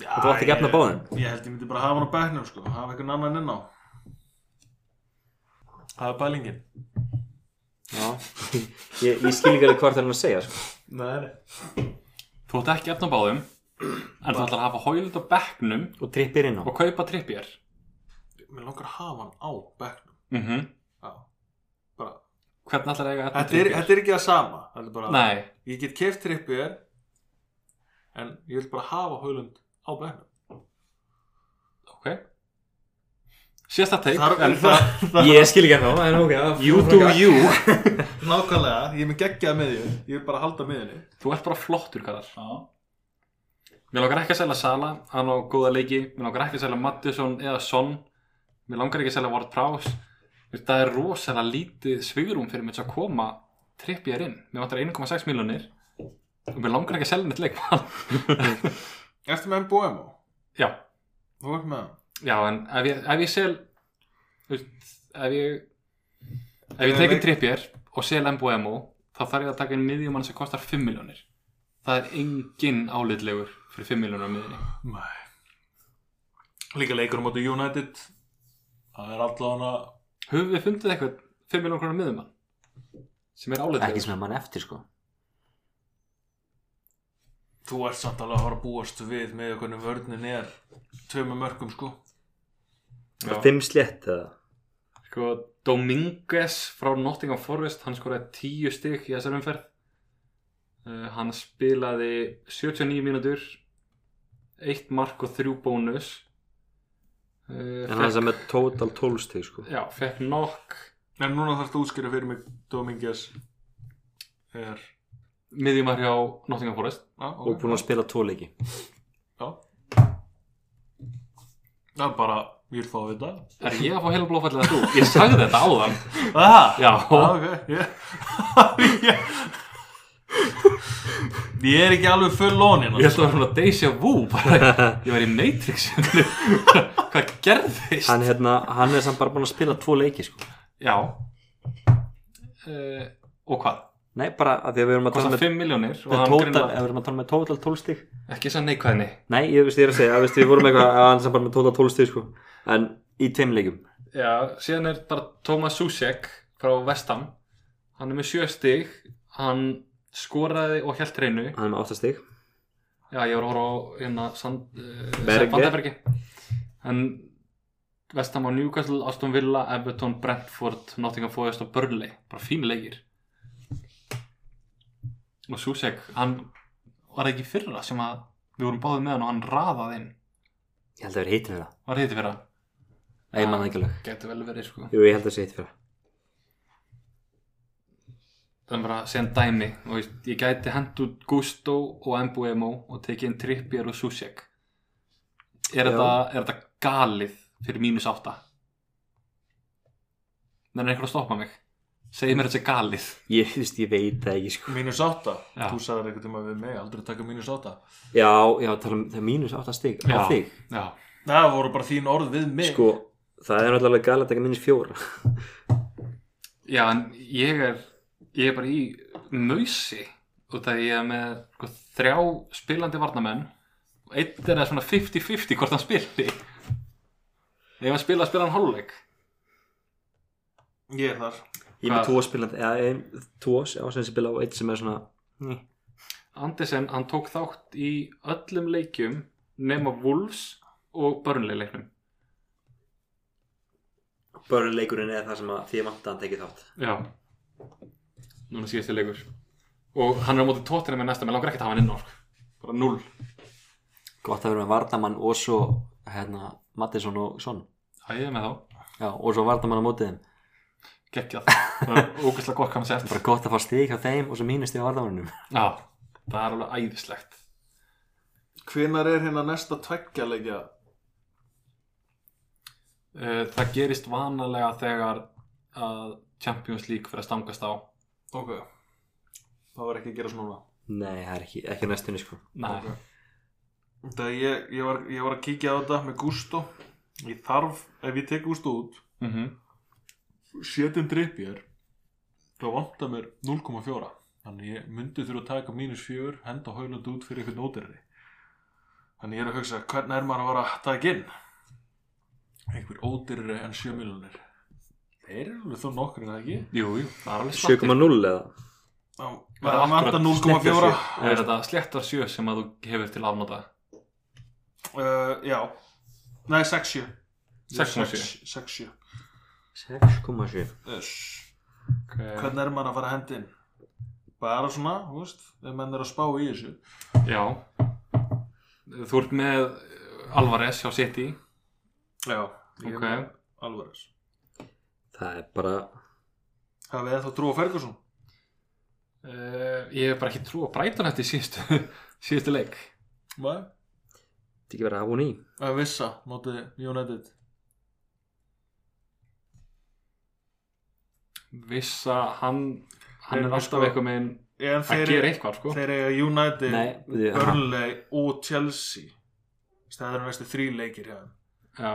A: Þú átt ekki efni á báðum?
B: ég held ég myndi bara hafa hann á bæknum sko hafa eitthvað annan inn á það er bælingin
A: Já Ég, ég skil ekki alveg hvað það er að segja sko.
B: nei, nei.
C: Þú átt ekki efna báðum En þú ætlar að hafa hóilut á bekknum
A: Og trippir inn á
C: Og kaupa trippjér
B: mér langar að hafa hann á bæknum
C: mm
B: já bara
C: Hvernig ætlar að eiga efna
B: Þetta er,
C: trippjér?
B: þetta er ekki það sama Þetta er bara,
C: Nei,
B: Ég get keft trippið En ég vil bara hafa Haulund á bekknum
C: ok Sérsta teik
B: Þar-
C: en,
B: það-
A: Ég skil ekki alveg en ok
C: You do you
B: Nákvæmlega, ég er með geggjað með þér Ég vil bara halda með henni
C: Þú ert bara flottur kallar
B: Já
C: Mér langar ekki að selja Sala, hann á góða leiki Mér langar ekki að selja Mattisson eða Son Mér langar ekki að selja Ward Prowse Þú veist, Það er rosalega lítið svigurum fyrir mig til að koma trippjér inn Mér vantar 1,6 miljonir og mér langar ekki að selja neitt leikmann
B: Ertu með MBOM á?
C: Já,
B: Þú ert með hann
C: já, en ef ég, ef ég sel þú veist, ef ég ef
B: Ég
C: ég tekin
B: veit-
C: trippjér og sel MBMO þá þarf ég að taka inn miðjumann sem kostar 5 miljonir Það er engin álitlegur fyrir 5 miljonir á miðjunni
B: Nei Líka leikur á móti United Það er allavega
C: Höfum við fundið eitthvað 5 miljón krónar miðumann sem er
A: Ekki
C: áleitlegur?
A: sem að mann eftir sko
B: Þú ert samt alveg að fara að búast við Með hvernig vörnin er Tvöma mörgum sko
C: Já.
A: Fimm slétt eða
C: Sko, Dominguez frá Nottingham Forest hann skoraði 10 stygg í þessar umferð uh, hann spilaði 79 mínútur eitt mark og þrjú bónus uh,
A: En hann er
C: fekk,
A: það með total 12 stig sko
C: já, fekk nokk
B: En núna þarfst að útskýra fyrir mig Dominguez Er
C: miðjumar hjá Nottingham Forest
B: Já,
A: Og
B: ok.
A: búin að spila tvo leiki
B: Já Það er bara, ég vil fá að vita
C: Er ég að fá heila blófallið að þú? Ég sagði þetta áðan
B: Það?
C: Já,
B: ok Ég Ég er ekki alveg full on
C: ég
B: hérna
C: held að vera svona deja vu bara, ég var í Matrix Hvað gerðist?
A: Hann, hérna, hann er samt bara búin að spila tvo leiki sko
C: Já uh, Og hvað?
A: Nei bara að því að við erum að tala
C: Kostar
A: með,
C: 5 miljónir og
A: með
C: hann
A: total,
C: greinlega-
A: ef við erum að tala með total 12 stig
C: Ekki svo neikvæðni
A: Nei ég veist ég er að segja að veist, við vorum eitthvað að hann er samt bara með total 12 stig sko En í tveim leikum
C: Já, síðan er bara Thomas Susek frá Vestam Hann er með 7 stig Hann skoraði og held reynu
A: Hann er með 8 stig
C: Já, ég var að horfa á hérna Sand, uh,
A: Berge.
C: Vandabergi En Vestham á Newcastle, Aston Villa, Everton, Brentford, Nottingham Forest og Burnley Bara fín leikir Og Susek, hann var það ekki í fyrra sem að við vorum báðið með hann og hann raðað inn
A: Ég held að vera hittin það
C: Var þetta í fyrra?
A: Nei, ég manna ekki alveg
C: Gæti vel verið sko
A: Jú, ég held að sé hittin fyrir
C: Það er bara að segja dæmi og ég, ég gæti hent út Gusto og Mbuemo og tekið inn Trippier og Susek er
A: Já.
C: þetta, er þetta galið fyrir mínus átta? Nei, er einhver að stoppa mig Segðu mér að þetta er galið
A: Ég, þú veist, ég veit það ekki sko
B: Mínus átta
C: Já.
B: Þú sagðir einhvern tíma við mig Aldrei taka mínus átta
A: Já, já, tala um það er mínus 8 stig á
C: Já.
A: þig
C: Já,
B: Það voru bara þín orð við mig
A: Sko, það er náttúrulega gæla að taka mínus 4
C: Já en ég er ég er bara í mausi út af ég er með sko, þrjá spilandi varnamenn og einn er það svona 50-50 hvort hann spili Ef hann spila, spila hann hálfleik
B: Ég er þar
A: Ég er með
C: Hvað?
A: tvo spilandi, eða ein, tvo á sem spila og eitt sem er svona mm,
C: Andersen, hann tók þátt í öllum leikjum nema Wolves og Burnley leiknum.
A: Börnleikurinn er það sem að því vant að hann tekið þátt
C: Já. Núna síðasti leikur. Og hann er á móti tóttina með næsta, mér langar ekkert að hafa hann inn ork. Bara null.
A: Gott að vera með Vardamann og svo hérna, Mattisson og Son
C: Það ég er með þá.
A: Já, og svo Vardamann á mótið þeim
C: Gekkjað. Það er ógæslega gott kannast eftir.
A: Bara gott að fá stig hjá þeim og svo mínus stig á Vardamannum
C: Já. Það er alveg æðislegt.
B: Hvenar er hérna næsta tveggja leikja?
C: Eh, Það gerist vanalega þegar að Champions League fyrir að stangast á.
B: Ok Það var ekki að gera svona
A: Nei, það er ekki, ekki á næstunni sko
C: Nei.
B: Ok. Það ég, ég, var, ég var að kíkja á þetta með Gusto Ég þarf, ef ég tek Gusto út
C: Mm
B: Setjum drippjör Þá vantar mér 0,4 Þannig ég myndi þurfa að taka mínus 4 Henda hauland út fyrir eitthvað nótirri Þannig ég er að hugsa Hvernig er maður að vara að taka inn Einhver ódýrri en 7 miljonir Þeir eru alveg þó nokkur en það ekki
C: Jú, jú. Það er alveg slattir.
A: 7,0 eða?
B: Það
C: Það er
B: vantar
C: akkurat
B: 0,4
C: Er þetta sléttar sjö sem að þú hefur til afnóta?
B: Uh, já, nei 6-7
C: Sex sjö.
B: 6-7
A: 6,7
B: Uss.
C: Okay.
B: Hvernig er maður að fara að hendi inn? Bara svona, þú veist Ef menn er að spá í þessu
C: Já Þú ert með Alvarez hjá City
B: Já,
C: Ok.
B: alveg
A: Það er bara
B: Hafið þið þá trú á Ferguson?
C: uh, Ég hef bara ekki trú að breyta nætti síðustu, síðustu leik
B: Nei
A: þetta ekki verið að hafa hún í
B: Að vissa, móti United
C: Vissa, hann hann
B: Þeir
C: er
B: eru
C: alltaf
B: sko-
C: eitthvað með
B: En
C: að
B: þeir,
C: gera eitthvað sko
B: þeir eiga United,
A: Nei, við-
B: Burnley og Chelsea Þú veist, Það eru næstu þrý leikir hjá þeim
C: Já,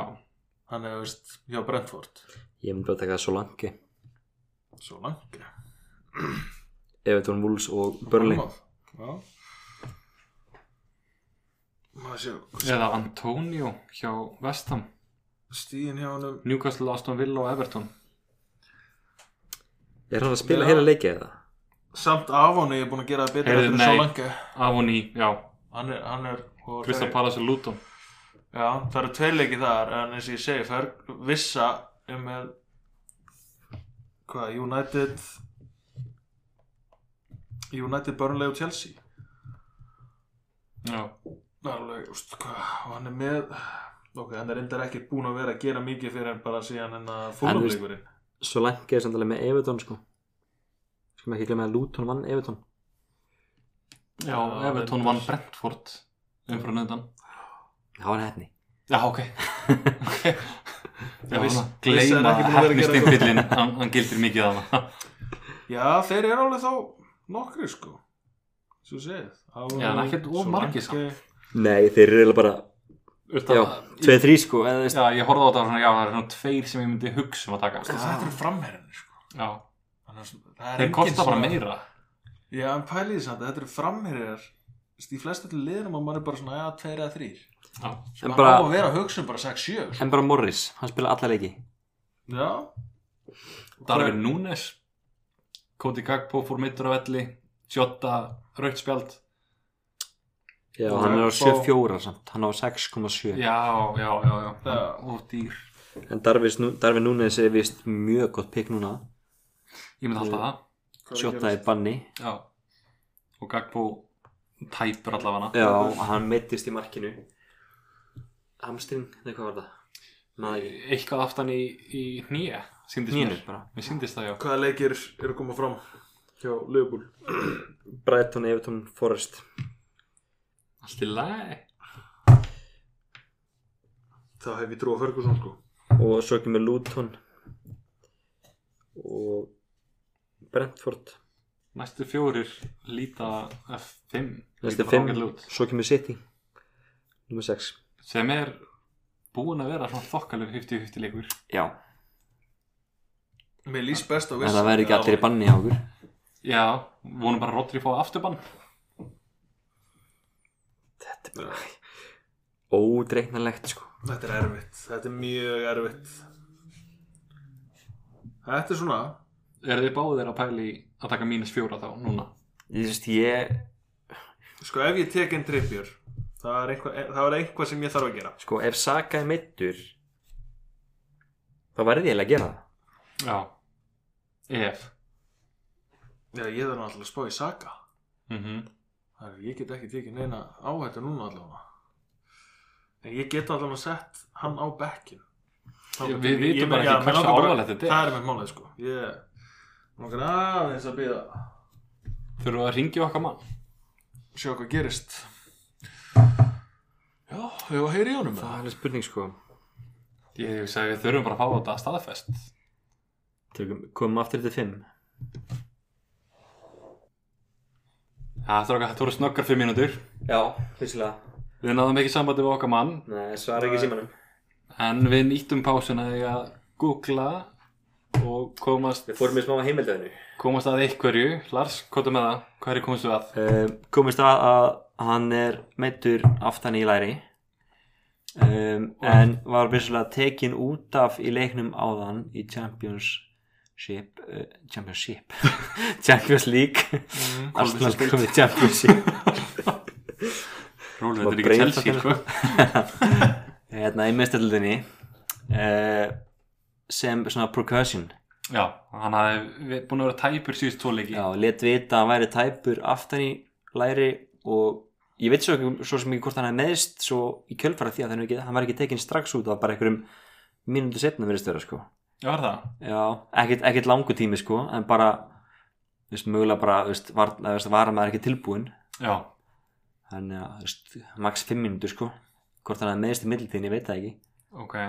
B: Hann er, þú veist, hjá Brentford
A: Ég myndi bara að taka svo langi
B: Svo langt
A: Evertón Wolves og Burnley
B: Já Maður séu
C: eða Antonio hjá Vestham
B: stíðin hjá hann
C: Newcastle, Aston Villa og Everton
A: Er hann að spila
B: Já.
A: heila leikið eða?
B: samt af hann er ég búin að gera það betur
C: Heyrðu,
B: heldur en
C: nei.
B: svo langi
C: af og ný, Ah, já,
B: hann er, hann er og
C: Crystal
B: þeir-
C: Palace og Luton
B: já, það eru tveir leiki þar en eins og ég segi fer vissa um með hvað United United Burnley og Chelsea
C: Já,
B: Það er alveg, úst, hvað, og hann er með ok, hann er endar ekki búin að vera að gera mikið fyrir en bara síðan en að
A: En þú veist-
B: fólumleikurinn
A: Svo langi er samt alveg með Evertón sko Skum ekki glemja að Luton vann Evertón
C: já
B: Já,
C: Everton
B: reyndar.
C: vann Eh, Brentford um umfram nöndan
A: Það var hefni
C: Já, ok Já,
B: viss-
C: hann
B: vissi hann
C: gleyma
B: ekki búin að vera að gera
C: hefnistimpillin hann, hann gildir mikið af hann
B: já, þeir eru alveg þá nokkri sko svo segið
C: Já, en ekkert of margir samt.
A: Nei, þeir eru eiginlega bara
C: Utan,
A: Já,
C: já,
A: 2-3 sko eða, þú veist,
C: já, ég horfði á þetta og svona, já, það er svona tveir sem ég myndi hugsa um að taka
B: þetta eru framherjarnir sko
C: Já,
B: Annars, það er
C: þeir
B: engin
C: kosta bara
B: svona-
C: meira
B: Já, en pæliði samt að þetta eru framherjar Í flestu til liðnum að maður er bara svona Já, tveir eða þrýr
C: Já,
A: En
B: Svona
A: bara-
B: á að vera að hugsa um bara 6-7 sko.
A: En bara Morris, hann spila alla leiki
B: Já
C: Darvin Núnes Cody Gagpo fór mittur á velli Jota, rautt spjald
A: Já, hann er á 7-4 samt, hann á 6,7
C: Já, já, já, já,
B: Já.
C: og dýr
A: En Darvis, Darvi Núnes er vist mjög gott pikk núna
C: Ég myndi alltaf það,
A: Sjóta í banni
C: já Og Gagbo tæpur allavega hana
A: Já, hann meittist í markinu Hamstring, eða hvað var það? Maður ekki
C: Eitthvað aftan í, í nýja Sýndist
A: Hnénu
C: mér,
A: bara
C: mér sýndist það, já
B: Hvaða leikir eru að koma fram hjá Liverpool?
A: Brighton, Everton, Forest
C: Allt í lagi
B: Þá hef ég trú á Ferguson sko
A: Og svo ekki með Luton Og Brentford
C: Næstu fjórir líta F5
A: Næstu
C: líta
A: 5,
C: ágætlega út.
A: svo ekki með City Númer 6
C: Sem er búin að vera svona þokkalur 50-50 leikur
A: Já,
B: Mér líst best á
A: en það væri ekki allir í banni á okkur
C: Já, vonum bara að Rodri fá afturbann
A: Þetta er bara ódreiknarlegt sko
B: Þetta er erfitt, þetta er mjög erfitt Þetta er svona
C: Er þið báðir að pæli að taka mínus fjóra þá núna?
A: Ég veist, ég
B: Sko ef ég tek einn trippjör það er eitthvað, það er eitthvað sem ég þarf að gera
A: Sko, ef Saka er meittur þá verði ég eiginlega að gera það
C: Já Ef
B: Já, ég þarf náttúrulega að spá í Saka
C: mm
B: Það er, ég get ekki tekið neina áhættu núna allavega En ég get allavega sett hann á bekkin
C: Við- við vitum bara ekki hversu alvarlegt þetta er.
B: Það er með málið sko Ég nokkar aðeins að býða
C: Þurfum við að ringja okkar mann?
B: Sjá hvað gerist Já, hefur að heyri í honum
A: Það
B: eða?
A: er alveg spurning sko
C: Ég hugsa að við þurfum bara að fá þetta staðfest
A: Tökum, komum aftur til 5
C: Já, þetta voru- þetta voru snöggar fimm mínútur
A: Já, fyrstilega
C: Við náðum ekki sambandi við okkar mann
A: Nei, svara ekki símanum
C: En við nýttum pásuna í að googla og komast,
A: Við fórum í smá heimildöðinu
C: komast að einhverju Lars, hvað er með það? Hvað er komstu að?
A: uh, Komist að að hann er meittur aftan í læri um, en var byrjulega tekin út af í leiknum áðan í Championship uh, Championship Champions League
C: Mm,
A: Arsenal komið í Championship
C: Rúlu,
A: Var
C: þetta er ekki
A: breið
C: Chelsea,
A: þetta
C: sko
A: hérna í mestarlutinni uh, sem svona percussion
C: Já, hann hafði búin að vera tæpur síðust tvo leiki
A: já, let vita að hann væri tæpur aftan í læri og ég veit svo, ekki, svo sem ekki hvort hann hefði meðist svo í kjölfara því að hann, ekki, hann var ekki tekinn strax út af bara einhverjum mínútu setna verið störa sko
C: Já, var það?
A: já, ekkert, ekkert langu tími sko en bara, þú veist, mögulega bara þú veist, var, þú veist, var maður ekki tilbúin
C: Já,
A: þannig að, þú veist, max 5 mínútur sko hvort hann hefði meðist í middiltíðin, ég veit það ekki
C: ok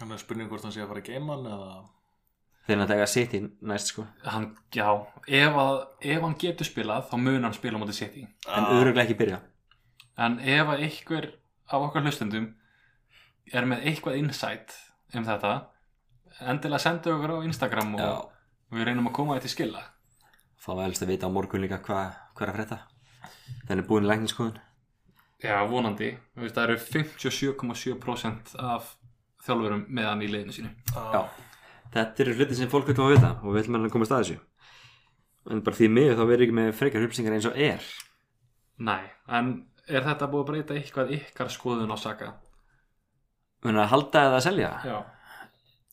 B: Þannig að spurning hvort hann sé að fara að geima hann eða
A: þegar hann taka sitt í næst sko
C: hann, Já, ef, að, ef hann getur spilað þá mun hann spila á móti City
A: en öruglega ekki byrja
C: En ef að einhver af okkar hlustendum er með eitthvað insight um þetta, endilega sendu okkur á Instagram og við reynum að koma þetta í skilla.
A: Þá var helst að vita á morgun líka hvað hva er að frétta. Þannig búin í lækningskoðun.
C: Já, vonandi. Þú veist, Það eru 57,7% af þjálfurum með hann í leiðinu sínu.
B: Ah,
A: Já. Þetta eru hluti sem fólk vil að vita og vil mann að komast að þessu. En bara því miður þá verður ekki með frekar hupsingar eins og er.
C: Nei, en er þetta búið að breyta eitthvað ykkar skoðun á Saka?
A: Þannig að halda eða að selja.
C: Já.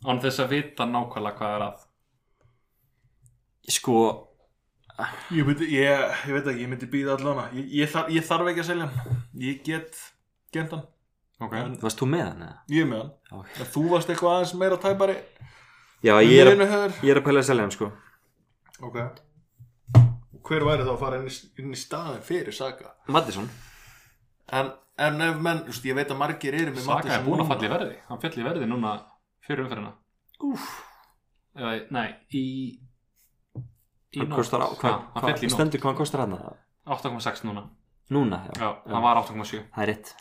C: Án þess að vita nákvæmlega hvað er að.
A: Sko,
B: Ég, myndi, ég, ég veit ekki, ég myndi býða allan ég, ég, þarf, ég þarf ekki að selja hann Ég get gent hann
C: Ok.
A: varst þú með hann eða?
B: Ég er með hann
A: Ok.
B: En þú varst eitthvað aðeins meira tæpari
A: Já, ég er,
B: Minu höfður.
A: að- ég er að pæla að selja hann sko.
B: Ok Hver væri þá að fara inn í, inn í staðin fyrir Saga?
A: Mattisson.
B: En, en ef menn, þú veist, ég veit að margir eru með
C: Saka
B: Matthías
C: er búin að
B: núna.
C: falla í verði hann fell í verði núna fyrir umferðina Úf Eða, nei, í í
A: Hann
C: nótt.
A: kostar á,
C: Já,
A: hvað,
C: hann
A: hvað,
C: fell í nótt
A: stendur hvað hann kostar hann það?
C: 8,6 núna
A: Núna, já.
C: já, hann var 8,7
A: Það er rétt.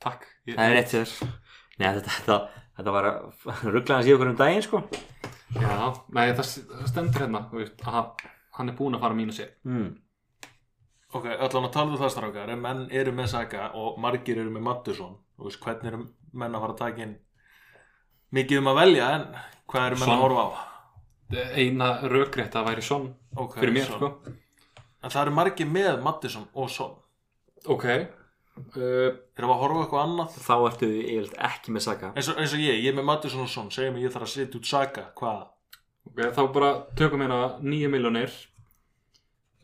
C: takk ég,
A: Það er rétt þér. Nei, þetta, þetta, þetta var að ruggla hans í okkur um daginn sko.
C: já, nei, það s- það stendur hérna þú veist, að hann- hann er búin að fara mínus 1
A: Mm.
B: Ok, allan að tala um það strákar Ef menn eru með Saga og margir eru með Matthíasson Þú veist, hvernig eru menn að fara að taka inn Mikið um að velja en hvað eru menn
C: Son.
B: að horfa á?
C: eina rökrétta væri sonn
B: Okay,
C: fyrir mér
B: Son.
C: sko
B: En það eru margir með Matthíasson og Son
C: Ok uh,
B: Erum við að horfa á eitthvað annað?
A: þá ertu eiginlega ekki með Saka
B: Eins og, eins og ég, ég er með Mattisson og Son Segjum að ég þarf að setja út Saga Hvað?
C: Ok, þá bara tökum hérna 9 miljónir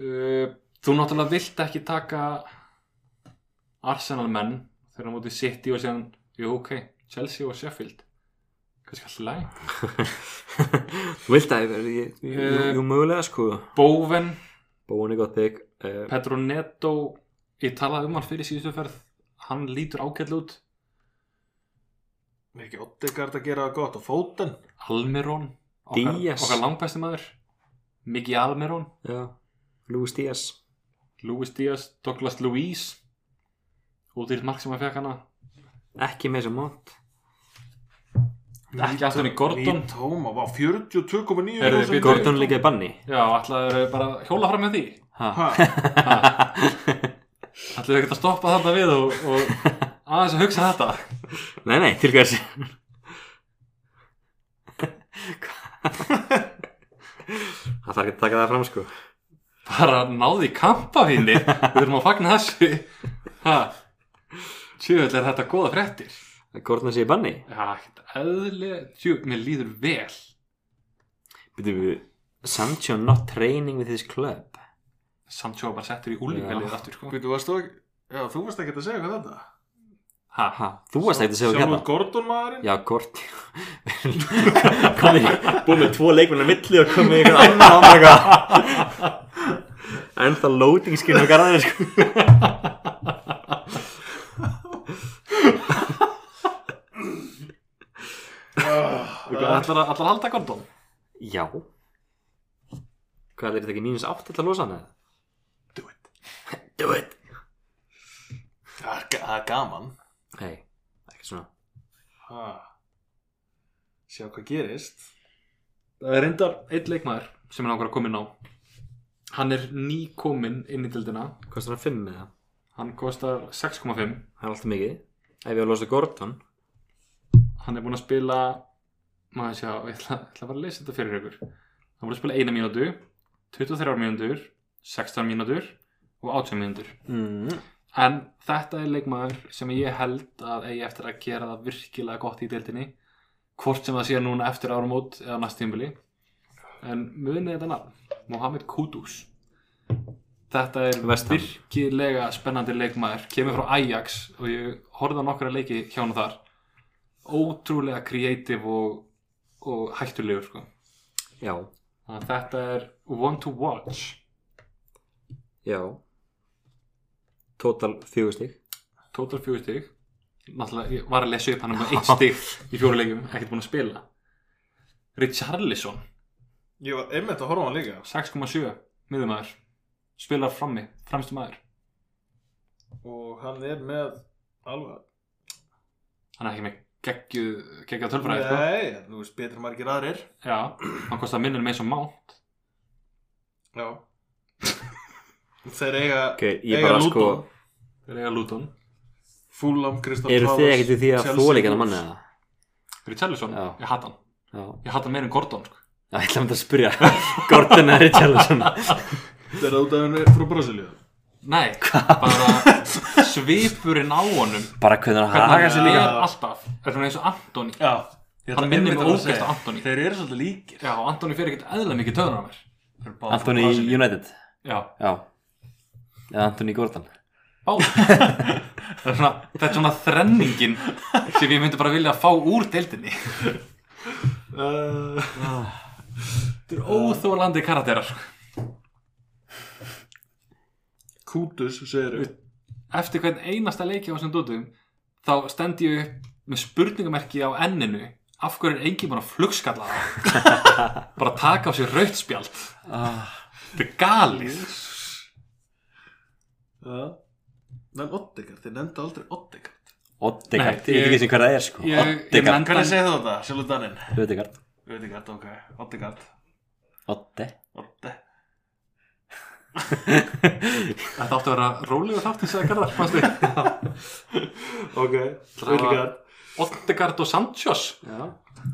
C: uh, Þú náttúrulega vilt ekki taka Arsenal menn þegar á móti City og síðan Jú, ok, Chelsea og Sheffield Kannski alltaf læg
A: Þú vilt að ég- ég- jú- Jú mögulega sko
C: Bowen,
A: Bóin er gott pick uh,
C: Pedro Neto Ég talaði um hann fyrir síðustu ferð Hann lítur ágætl út
B: Er ekki Oddegard að gera það gott og Fóten?
C: Almirón
A: Díaz.
C: Okkar langbæsti maður Miki Almirón
A: Já Lúis Díaz
C: Luis Díaz, Douglas Luís Útýrt mark sem hann fekk hana
A: Ekki með sem mont
C: Ekki Anthony Gordon.
B: Tóma, vá, 42,9
C: Heyrðu,
B: prósent.
C: bíddu.
A: Gordon líka í banni
C: Já, ætlaður bara að hjóla fram með því
A: Ha.
B: Ha,
C: Ætlaður ekkert að stoppa þarna við og, og aðeins að hugsa þetta
A: Nei, nei, til hvers Það þarf ekki að taka það fram sko
C: Bara náði í kampafíni Við þurfum að fagna þessu Ha Tjöfull er þetta góða fréttir
A: Að Gordon sé í banni
C: Já, ekkert eðlilega Tjöfull, mér líður vel
A: Býtum við Sancho not training with his club
C: Samt sjá bara settur í úlíkalið aftur sko.
B: Býtu, varst þú ekki Já, þú varst ekki að segja hvað þetta
C: Ha,
A: ha, Þú varst ekkert að segja
B: Sjálfur
A: hérna
B: Gordon maðurinn
A: Já, Gordon Komið, búið með tvo leikmenn að milli og komið ykkur annað oh my god Ennþá loading skinn á garðinu sko
B: Ah,
C: Ætlar að ætlar að halda Gordon?
A: Já Hvað er þetta ekki mínus átt til að losa hann eða?
B: Do it
A: Do it
B: Það er ga- það er gaman
A: Nei, ekki svona
B: ha. Sjá hvað gerist
C: Það er reyndar einn leikmaður sem er nákvæmlega kominn á Hann er nýkominn inn í dildina
A: Kostar hann 5 eða?
C: Hann kostar 6,5
A: Það er alltaf mikið Ef ég á að losa Gordon
C: Hann er búinn að spila maður sjá, ég ætla, ég ætla bara að lesa þetta fyrir ykkur Hann er búinn að spila 1 mínútu 23 mínútur 16 mínútur og 18 mínútur
A: mm.
C: En þetta er leikmaður sem ég held að eigi eftir að gera það virkilega gott í deildinni hvort sem það sé núna eftir áramót eða næst tímbili en munið þetta nafn Mohamed Kudus Þetta er
A: West Ham.
C: virkilega spennandi leikmaður kemur frá Ajax og ég horfði á nokkra leiki hjá hann þar ótrúlega kreatív og, og hættulegur sko.
A: Já,
C: Þannig að þetta er one to watch
A: já Total fjögustík
C: Tóttar fjögur stig Náttúrulega, ég var að lesa upp hann um eitt stig í fjóru leikjum, ekkert búin að spila Richarlison
B: Ég var einmitt að horfa á hann líka
C: 6,7 miðumæður spilar frammi, fremstu maður
B: og hann er með alveg
C: hann er ekki með geggju, geggja tölfræði sko.
B: Nei, þú veist betur en margir aðrir
C: já, hann kostar minnir með eins og mát
B: Já Þeir eiga
A: Ok, ég
B: Eiga
A: bara sko
B: Luton.
C: þegar eiga Luton,
B: Fulham, Kristall
A: Eru þið ekkert við því að þóla ekki hann manni eða?
C: Richarlison
A: Já.
C: ég hatt hann,
A: Já,
C: ég hatt hann meira en Gordon sko.
A: Já, ég ætla að mynda að spyrja Gordon eða Richarlison
B: Þeir eru út af henni frá Brasilíu
C: nei, bara svipurinn á honum
A: Bara hvernig hann
C: hvernig
A: haga
C: hann
A: sér
C: er
A: líka
C: alltaf er hann eins og Antoni
B: Já
C: Hann minnir mig ógeðslega á Antoni.
B: Þeir eru svolítið líkir
C: já, Antoni fer ekkert eðla mikið töðunar á mér
B: Þeir eru báðir frá
A: Anthony
B: Brasilíu.
A: United
C: já,
A: Já Eða Anthony Gordon
C: báðum það er svona, þetta er svona þrenningin sem ég myndi bara vilja að fá úr deildinni
B: Uh,
C: þetta er óþólandi karakterar
B: Kútus, segir
C: eftir hvern einasta leiki á þessum dótum þá stend ég upp með spurningamerki á enninu af hverju er engin bara flugskalla á það? bara taka á sér rautt spjald þetta er galið
B: Já. En Oddegard, þið nefndu aldrei Oddegard
A: Oddegard, ég
C: Nei,
A: veit
C: ég-
A: ekki sem hvað það er sko
C: ég- ég
A: Oddegard,
C: man- Hvernig segir
B: þú þetta, sjálfur Danin?
A: Oddegard
B: Oddegard, ok, Oddegard
A: Odde
B: Odde
C: þetta átti að vera rólegur þátt eins og það garðar fannst þið
B: Ok, Oddegard
C: Oddegard og Sanchos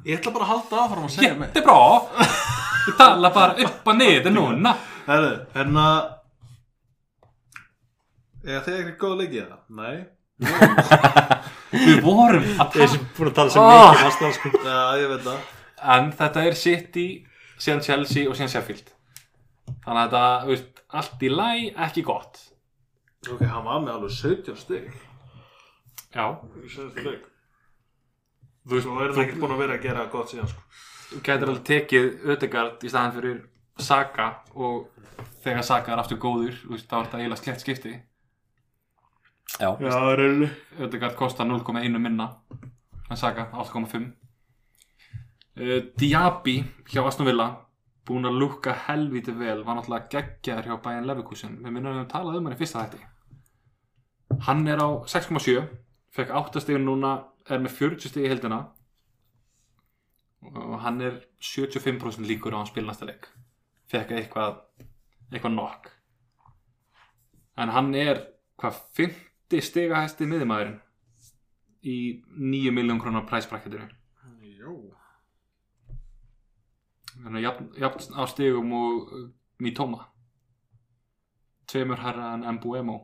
B: Ég ætla bara að halda áfram að segja mig
C: þetta er bra ég tala bara upp og niður núna
B: Herðu, hérna Eða þið ekki góð leikið það? Nei
C: Við vorum að
A: Þeir
C: tala
A: sem búin að tala sem
C: Ah.
A: mikið um Arsenal sko.
B: Já, ég veit það
C: En þetta er City, síðan Chelsea og síðan Sheffield Þannig að þetta, þú veist, allt í læ, ekki gott
B: Ok, hann var með alveg 17 stygg
C: Já,
B: Svo
C: þú veist,
B: er það ekkert búin að vera að gera gott síðan sko.
C: þú gætir alveg tekið Ödegard í staðan fyrir Saka og þegar Saka er aftur góður, þú veist, þá er þetta eiginlega slett skipti
A: Já,
B: reyli
C: Ödegard kostar 0,1 minna en Saka 8,5 uh, Diaby hjá Aston Villa búin að lukka helviti vel var náttúrulega geggjaður hjá Bayern Leverkusen við minnum að við höfum talað um hann í fyrsta þætti hann er á 6,7 fekk 8 stig núna er með 40 stig í heldina og hann er 75% líkur á að hann spila næsta leik fekk eitthvað eitthvað nokk en hann er hvað 50 stiga hæsti miðumæðurinn í 9 miljón krónar præsbrakketinu
B: Jó
C: þannig að jafn, jafn á stigum og uh, Mitoma tveimur herra en Mbuemo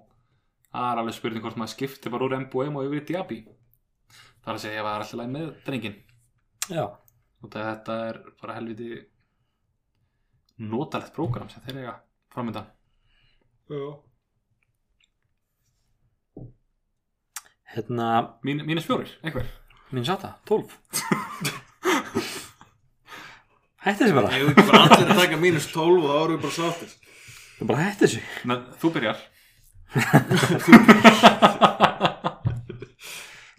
C: það er alveg spurning hvort maður skipti bara úr Mbuemo yfir í Diaby það er að segja að það er alltaf læg með drengin
A: já.
C: og þetta er bara helviti notalegt prógram sem þeir eiga framöndan
B: Já
A: Hérna,
C: Mín, mínus fjórir, einhver
A: minn sata, 12 Hætti þessu bara
B: Ég veit ekki bara allir að taka mínus 12 og þá erum við bara sáttir
A: Ég bara hætti þessu
C: Men, þú byrjar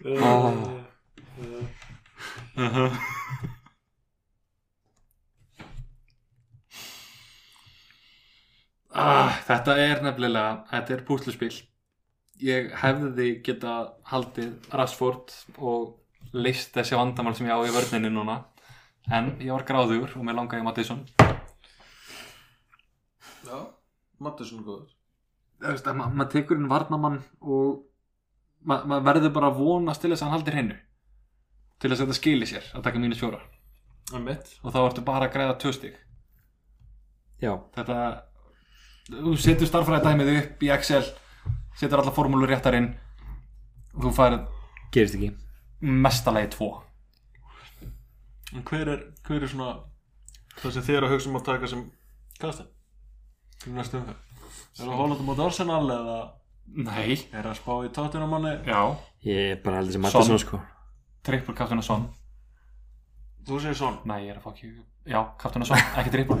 B: Eh,
A: Ó.
B: Ah.
C: Ah, þetta er nefnilega, þetta er púsluspill Ég hefði geta haldið Rashford og leist þessi vandamál sem ég á í vörninni núna En ég var gráður og mér langaði í Mattisson
B: Já Mattisson góður
C: Maður ma maður tekur inn varnamann og maður ma maður verður bara að vonast til þess að hann haldir hennu Til þess að þetta skili sér að taka mínus fjóra
B: Það er mitt
C: Og þá ertu bara að græða tvö stig
A: Já,
C: þetta þú setur starffræði dæmið upp í Excel setur alla formúlu réttar inn og þú færið
A: gerist ekki
C: mestalagi tvo
B: En hver er, hver er svona það sem þið eru að hugsa um að taka sem kastin? Fyrir næstu umhver Er það Holland mót Arsenal eða
C: nei,
B: er það spá í tóttunamanni?
C: já,
A: Ég er bara haldið sem Mattisson
C: Son.
A: sko
C: trippur Kaptuna Son
B: Þú segir Son,
C: nei, ég er að fá ekki, já, Kaptuna Son ekki trippur,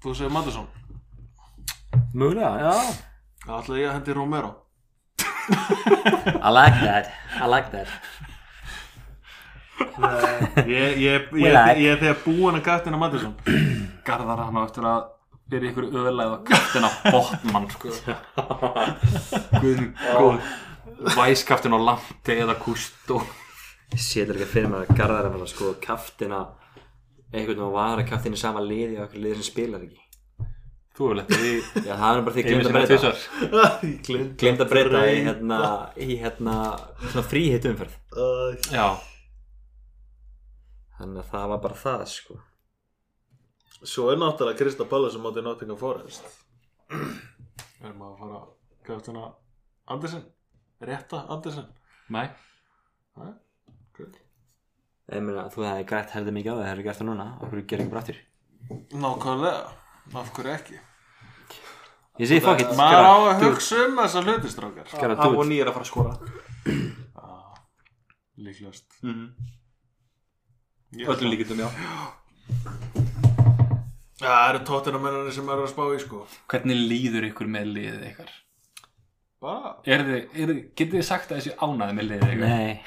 B: þú segir Mattisson
A: Mögulega, já
B: Það ætla ég að hendi Romero
A: I like that, I like that
B: Ég, ég, ég,
A: We like.
B: ég, ég er þegar búin að kastina Mattisson
C: Garðar hann á eftir að vera í ykkur öðlega og Kaptuna Botman sko guðin góð væskaptun á Lampi eða Kustó
A: Ég sé þetta ekki fyrir mér að garðar að vera sko kaftina einhvern veginn var að kaftina í sama liði og okkur liði sem spilar ekki
C: þú hefur lett því
A: Já, það er nú bara því
C: Einu
A: glemt að
C: sinni
A: breyta
C: tvisvar.
B: Ég gleymd
A: Glemt að breyta í hérna, í hérna svona fríhitt umferð
B: Æ,
C: já,
A: Þannig að það var bara það sko
B: Svo er náttúrulega Krista Palla sem átti Nottingham Forest Erum að fara að kastina Andersen Rétta Andersen
C: nei,
A: Ég meina, þú hefði grætt heldur mikið á það, hefur gert það núna og hverju gerir ekki brattur
B: Nákvæmlega, af hverju ekki
A: Ég segi fuck it,
B: Maður á
A: skara,
B: að hugsa um þessa hlutistrákar
A: skara
D: Á og
A: dút
D: nýjir að fara að skora
B: Líklast
A: Mhm.
D: Öllum líkindum, já
B: Það eru tóttunamennarnir sem eru að spá í sko
C: hvernig líður ykkur með liðið ykkar
B: Bara
C: Er þið, er þið, getið þið sagt að þessi ánæði með liðið ykkur?
A: Nei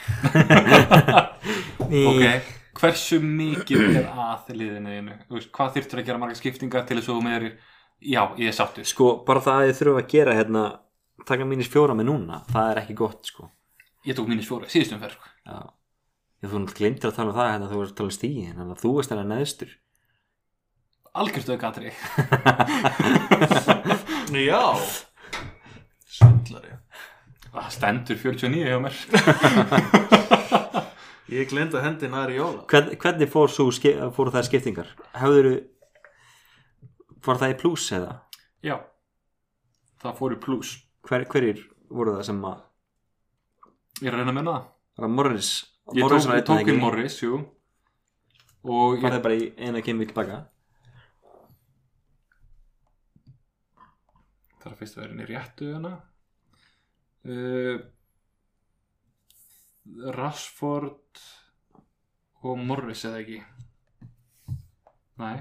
A: Ný.
C: Ok, hversu mikið er að liðinu þínu? Þú veist, Hvað þyrftur að gera marga skiptingar til þess að þú með þér Já, ég er sáttur
A: Sko, bara það að ég þurfa að gera hérna taka mínus fjóra með núna, það er ekki gott sko
C: Ég tók mínus fjóra, síðustum ferð sko.
A: Já Ég þú náttúrulega glindir að tala um það hérna þú ert að tala um stíi þannig að þú veist hérna neðstur
C: Algjörstu aukatri
B: Já Svindlari
C: Það stendur 49 hjá mér
B: Ég glinda hendi næri jóla
A: Hvern, Hvernig fór svo, fór það skiptingar? Hefðuru Fór það í pluss eða?
C: Já, það fóru pluss
A: hver, hverjir voru það sem að
C: Ég er að reyna að menna það
A: það var Morris
C: Ég tók,
A: var
C: ég
A: einn
C: tók
A: eða ekki?
C: inn Morris, jú
A: Var
C: Og ég,
A: það bara í eina kemur tilbaka
C: það er fyrst að vera henni réttu hana uh, Rashford og Morris eða ekki Nei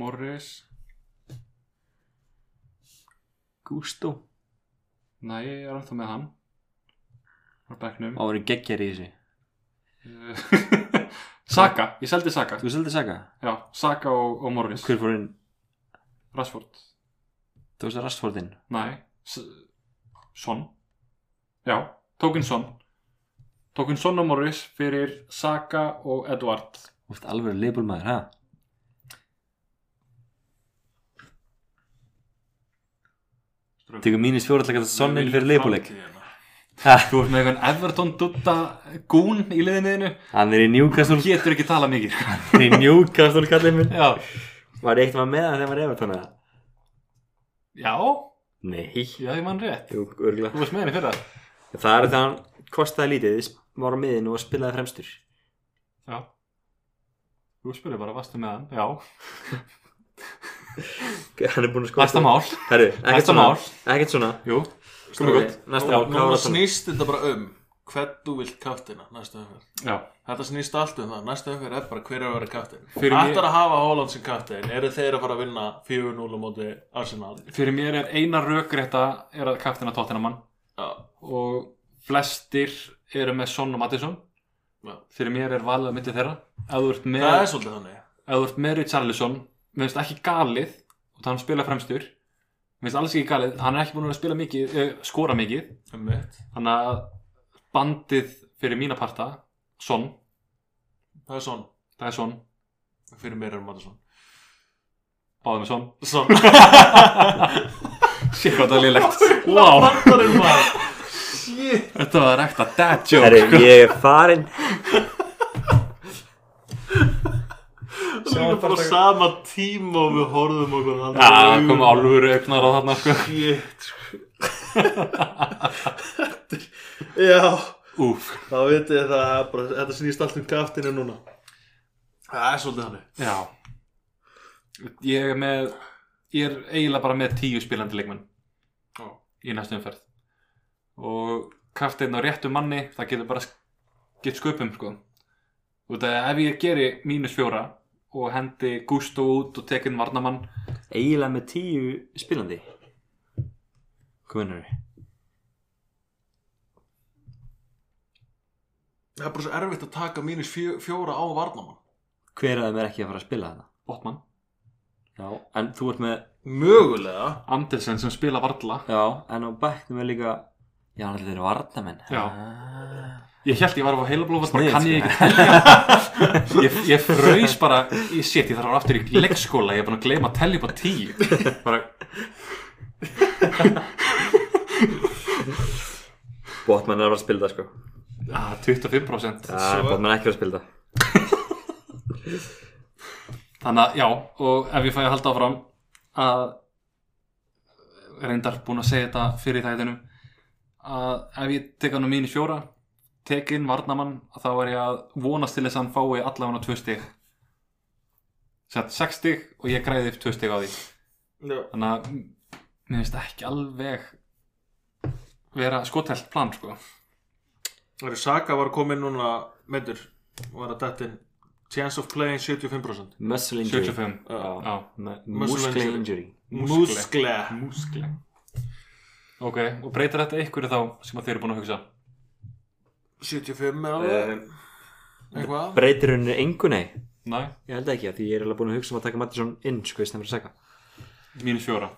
C: Morris
A: Gusto
C: Nei, ég er ennþá með hann Var
A: Á
C: bekknum
A: að vera geggjari í þessi
C: Eh, Saka, ég seldi Saka
A: Þú seldi Saka
C: Já, Saka og, og Morris
A: Hver fór inn
C: Rashford
A: Þú veist að Rastfordin
C: Nei, S Son Já, tókinn Son Tókinn Son og Morris fyrir Saka og Edward
A: Þú veist alveg leifbólmaður ha Tekur mínus fjóratlega að sonnin fyrir leifbóleik
C: Þú ert með einhvern Everton dutta gún í liðinniðinu
A: Hann er í
C: Þú
A: Newcastle
C: getur ekki tala mikið
A: Hann er í Newcastle kallið minn
C: Já,
A: Var ég eitt maður með hann þegar maður eftir hann eða?
C: já,
A: Nei
C: já ég mann rétt
A: Jú, örgulega
C: Þú varst með henni fyrir það
A: Það er það hann kostaði lítið, var á miðinu og spilaði fremstur.
C: Já Þú spurði bara, varstu með hann? Já,
A: Hann er búin að skoða.
C: næsta mál
A: Herru, ekkert
C: Næsta
A: svona.
C: mál.
A: Ekkert svona.
C: Jú,
A: Ok,
C: komið gott
A: Næsta mál, hvað var
B: Núna
A: það svona?
B: snýst þetta bara um hvern þú vilt kaftina næstu umferð
C: Já,
B: Þetta snýst allt um það, næstu umferð er bara hver er að vera kaftin
C: Fyrir
B: Fyrir Ætlar
C: mér-
B: að hafa Holland sem kaftin, eru þeir að fara að vinna 4-0 á móti Arsenal
C: fyrir mér er eina rökrétta er að kaftina tóttinamann
B: Já,
C: og flestir eru með Son og Mattisson
B: já.
C: fyrir mér er valið að myndi þeirra ef þú ert með,
B: Það er svolítið þannig
C: ef þú ert með Richarlison mér finnst ekki galið og það hann spila fremstur mér finnst alls ekki galið, hann er ekki búin að vera að spila mikið eh, skora mikið,
B: um mitt.
C: þannig að bandið fyrir mína parta Son,
B: Það er svon,
C: það er Son,
B: fyrir mér er um Mattisson
C: báðið með Son
B: Svon
C: sé hvað það er lélegt wow,
B: Bandar er maður Shit
C: þetta var ekta dad joke
A: Herru, ég er farinn.
B: Það er líka bara á sama tíma og við horfum okkur að halda
C: Já,
B: augun.
C: koma álfur auknar á þarna sko
B: Shit Já,
C: Úf,
B: þá veit ég það er bara, Þetta snýst allt um kaftinu núna Það er svolítið hannig
C: já Ég er með Ég er eiginlega bara með tíu spilandi leikmenn
B: Já.
C: í næstu umferð og kraftinn á réttu manni það getur bara gett sköpum sko út að ef ég geri mínus fjóra og hendi Gusto út og tekinn varnamann
A: Eiginlega með tíu spilandi. Hvað vinnur við?
B: Það er bara svo erfitt að taka mínus fjó, fjóra á varnamann
A: Hver af þeim er ekki að fara að spila þetta?
C: Botman,
A: Já. En þú ert með,
B: Mögulega
C: Andersen sem spila varla
A: já, en á bekknum er líka, já, hann er allir varnamenn.
C: Já.
A: Ah.
C: ég held ég var á heilablófa
A: Sniðugt,
C: bara kann ég
A: sko.
C: ekki telja ég, ég fröys bara, ég set ég þarf að fara aftur í leikskóla, ég er búin að gleyma að telja upp á tíu bara
A: Botman er að fara að spila þetta, sko.
C: Ah, 25%
A: Já,
B: Svo-
A: Botman er ekki að fara að spila þetta.
C: Þannig að já, og ef ég fæ að halda áfram að reyndar búin að segja þetta fyrir þættinum að ef ég tek hann á mínus fjóra tekin varnamann þá er ég að vonast til þess að hann fái allavega tvö stig sett sex stig og ég græði upp tvö stig á því
B: Já.
C: þannig að m- mér finnst ekki alveg vera skotelt plan sko
B: Það eru Saka var komin núna meður og var að dettin Chance of playing 75%
A: Muscle injury.
C: 75
A: Já.
C: já,
A: Me-
B: Muscle
A: Muscle
B: injury.
A: injury.
C: Múskle.
B: Múskle
C: múskli ok, og breytir þetta einhverju þá sem að þeir eru búin að hugsa
B: 75 eða
A: Eh,
B: eitthvað
A: Breytir henni engu nei?
C: næ,
A: Ég held ekki að því ég er alveg búin að hugsa um að taka Mattisson inn sko í stæðan fyrir að segja
C: mínus fjóra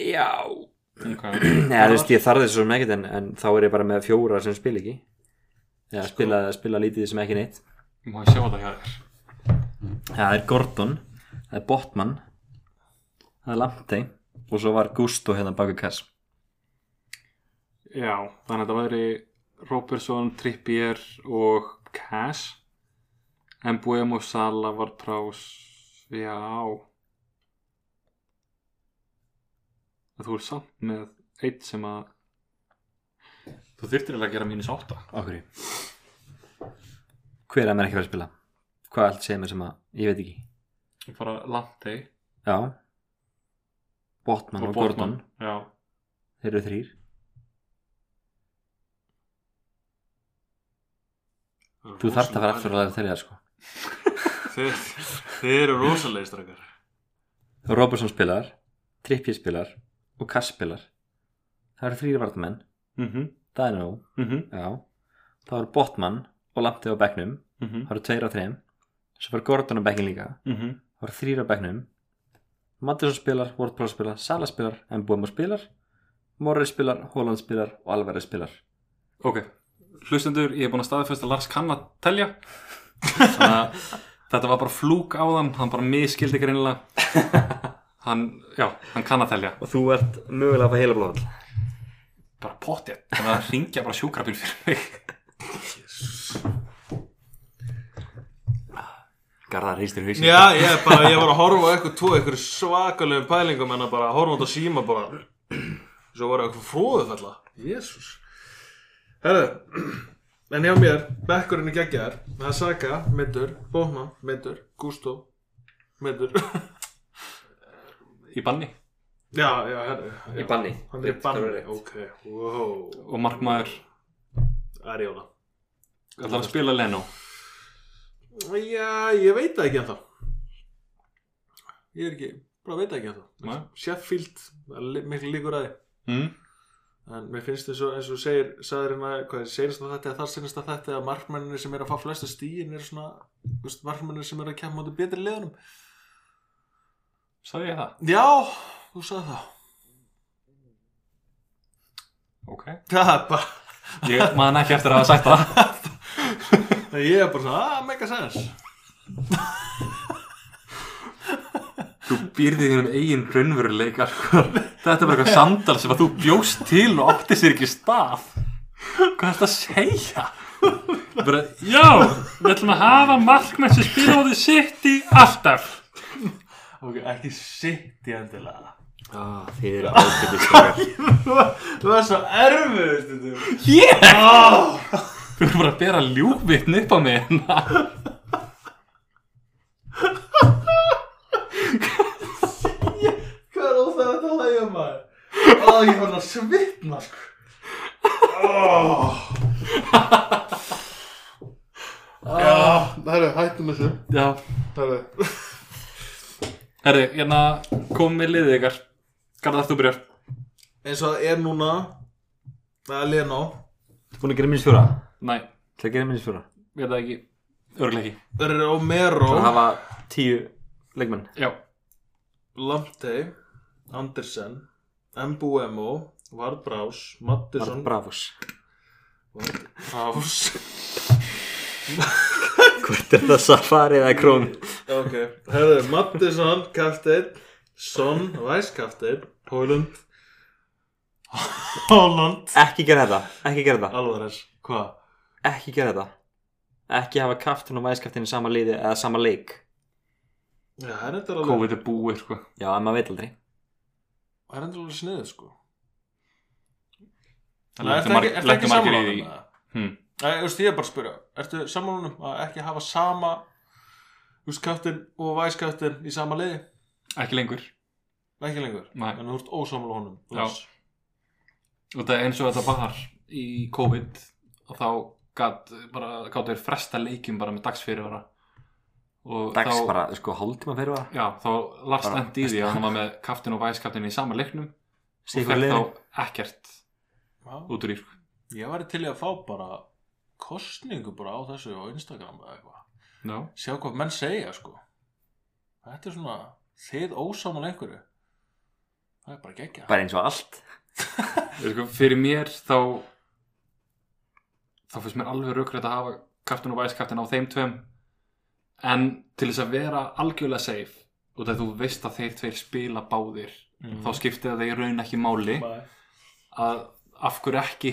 A: Já
C: okay.
A: Nei, þú veist, ég þarði þessu sem ekkert en, en þá er ég bara með fjóra sem spila ekki Já, spila, spila lítið sem ekki neitt
C: Má ég sjá það hjá þér
A: Það er Gordon, það er Botman Það er Lamptey og svo var Gusto hérna baku kass
C: Já, þannig að þetta væri Robertson, Trippier og Cash En Buemo Sala var Prás Já En Þú er samt með eitt sem að þú þyrftir eiginlega að gera mínus 8
A: Okkur Hver er að mér ekki fara að spila? Hvað allt segir mér sem að, ég veit ekki
C: og fara langt þeir
A: Já Botman og, Gordon
C: já,
A: Þeir eru þrýr Þú þarft að fara aftur að læra þeirra sko
B: Þeir, þeir eru rosalegir strakar
A: Robertson spilar Trippier spilar og Kass spilar Það eru þrýr vartamenn
C: mhm, mhm
A: Það er nóg, já Það eru Botman og Lamptið á bekknum
C: mhm,
A: Það eru tveir á þreim Svo fyrir Gordon á bekkin líka
C: mhm,
A: Það eru þrýr á bekknum Mattisson spilar, Wardpláð spilar, Sala spilar Mboma spilar, Morris spilar Holland spilar og Alvarez spilar
C: ok hlustendur, ég er búin að staðfesta að Lars kann að telja þannig að þetta var bara flúk á þann hann bara miskildi greinilega hann, já, hann kann að telja
A: Og þú ert mögulega að fá heila blóðall
C: bara pottið, þannig að ringja bara sjúkrabíl fyrir mig
A: Garðar hristir hausin
B: Já, ég, er bara, ég var að horfa á eitthvað tvo eitthvað svakalegum pælingum en að bara horfa út á síma bara svo voru eitthvað fróðu falla Jésús Herðu, en hjá mér bekkurinn í geggjar, það er Saga middur, Bóma, middur, Gústó middur
C: í banni
B: Já, já, herðu já.
A: banni
B: Hann er í banni, ok, wow
C: og markmaður
B: Arjóla
C: ætlar að spila Leno
B: Já, ég veit það ekki ennþá Ég er ekki, bara veit það ekki ennþá
C: Nei.
B: Sheffield, það er li- miklu líkur að því
C: mm?
B: En mér finnst eins og, eins og segir, sagðir hérna, hvað er seinasta þetta eða þar seinasta þetta að markmenninni sem er að fá flestu stíin er svona, þú veist, markmenninni sem er að kemma út í betri liðunum.
C: sagði ég það?
B: Já, þú sagði það.
C: ok
B: Það er bara,
C: ég man ekki eftir að hafa sagt það
B: ég er bara svona, ah, make a sense.
C: þú býrði þér um eigin raunveruleika sko. þetta er bara eitthvað samtal sem að þú bjóst til og átti sér ekki stað hvað er þetta að segja bara, já við ætlum að hafa markmenn sem spila á því sitt í alltaf
B: Ok, ekki sitt í endilega.
A: ah, Þið eru ákveðið strákar
B: Þú er svo erfið, stundum.
C: ég, yeah!
B: Ah!
C: þú erum bara að bera ljúfvittn upp á mig hérna.
B: Hvað er óþægilegt að hlæja maður? Ó, ég fann að svitna, sko. Oh. Já, það eru, hættum þessu.
C: já,
B: Það eru.
C: herri, hérna komum við liðið ykkar Garðar, þú byrjar
B: Eins og það er núna, það er Leno.
A: Búin að gera minns fjóra
C: næ,
A: Það að gera minns fjóra
C: ég veit það ekki, örglega ekki
B: Það eru Romero,
A: Það hafa tíu leikmenn
C: já,
B: Lamptey, Andersen, Mbuemo, Vardbrás, Mattisson,
A: Bravos
B: Vardbrás.
A: Hvort er það Safari eða Krón?
B: Ok, herðu, Mattisson, kaftin, Son, væskaftin, Hólund, Hólund,
A: Ekki gera þetta Ekki gera þetta
B: Alvarez, hvað?
A: Ekki gera þetta Ekki hafa kaftin og væskaftin í sama liði eða sama leik
B: Já, það er endur alveg,
C: COVID er búið sko.
A: Já, en maður veit aldrei
B: það er endur alveg sniðið, sko.
C: það lendi marg- lendi margir í því
B: um það?
C: Hmm.
B: Nei, þú veist, ég er bara að spyrja, ertu samanlunum að ekki hafa sama, þú veist, kaftin og væskaftin í sama liði?
C: ekki lengur
B: Ekki lengur,
C: Nei.
B: en þú ert ósamlega honum.
C: Já.
B: Lars.
C: og það er eins og þetta var í COVID og þá gat bara, gátt þeir fresta leikjum bara með dagsfyrirvara og
A: Dags
C: þá,
A: bara, sko, hálftíma fyrir það
C: já, þá Lars
A: Bara-
C: endi í því að hann var með kaftin og væskaftin í sama leiknum og
A: Sigur
C: fekk
A: liði
C: þá ekkert
B: Já.
C: út úr sko. ír
B: Ég væri til í að fá bara kostningu bara á þessu á Instagram eða eitthvað.
C: já,
B: sjá hvað menn segja sko þetta er svona þið ósáman einhverju það er bara geggja
A: Bara eins og allt
C: sko, fyrir mér þá þá finnst mér alveg raukrætt að hafa kaftin og væskaftin á þeim tveim en til þess að vera algjörlega safe og þegar þú veist að þeir tveir spila báðir
B: Mhm.
C: þá skiptir það í raun ekki máli
B: Nei.
C: að af hverju ekki